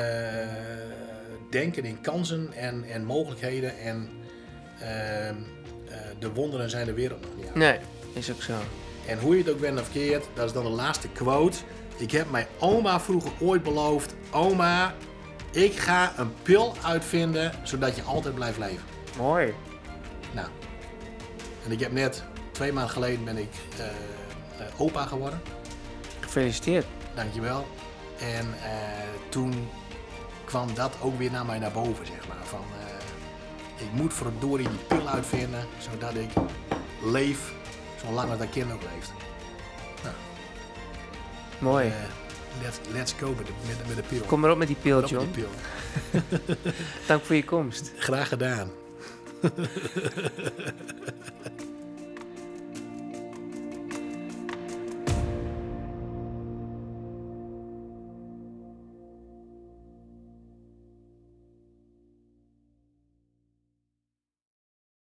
denken in kansen en, en mogelijkheden. En ehm, eh, de wonderen zijn de wereld nog niet aan.
Nee, is ook zo.
En hoe je het ook bent of keert, dat is dan de laatste quote. Ik heb mijn oma vroeger ooit beloofd: Oma, ik ga een pil uitvinden zodat je altijd blijft leven.
Mooi.
Nou, en ik heb net, twee maanden geleden, ben ik eh, eh, opa geworden.
Gefeliciteerd.
Dankjewel. En eh, toen kwam dat ook weer naar mij naar boven, zeg maar. Van, eh, ik moet verdorie die pil uitvinden, zodat ik leef zolang als dat kind ook leeft.
Mooi.
Eh, let's, let's go met de, met, de- met de pil.
Kom maar op met die pil,
Op met die
John.
pil.
Dank voor je komst.
Graag gedaan.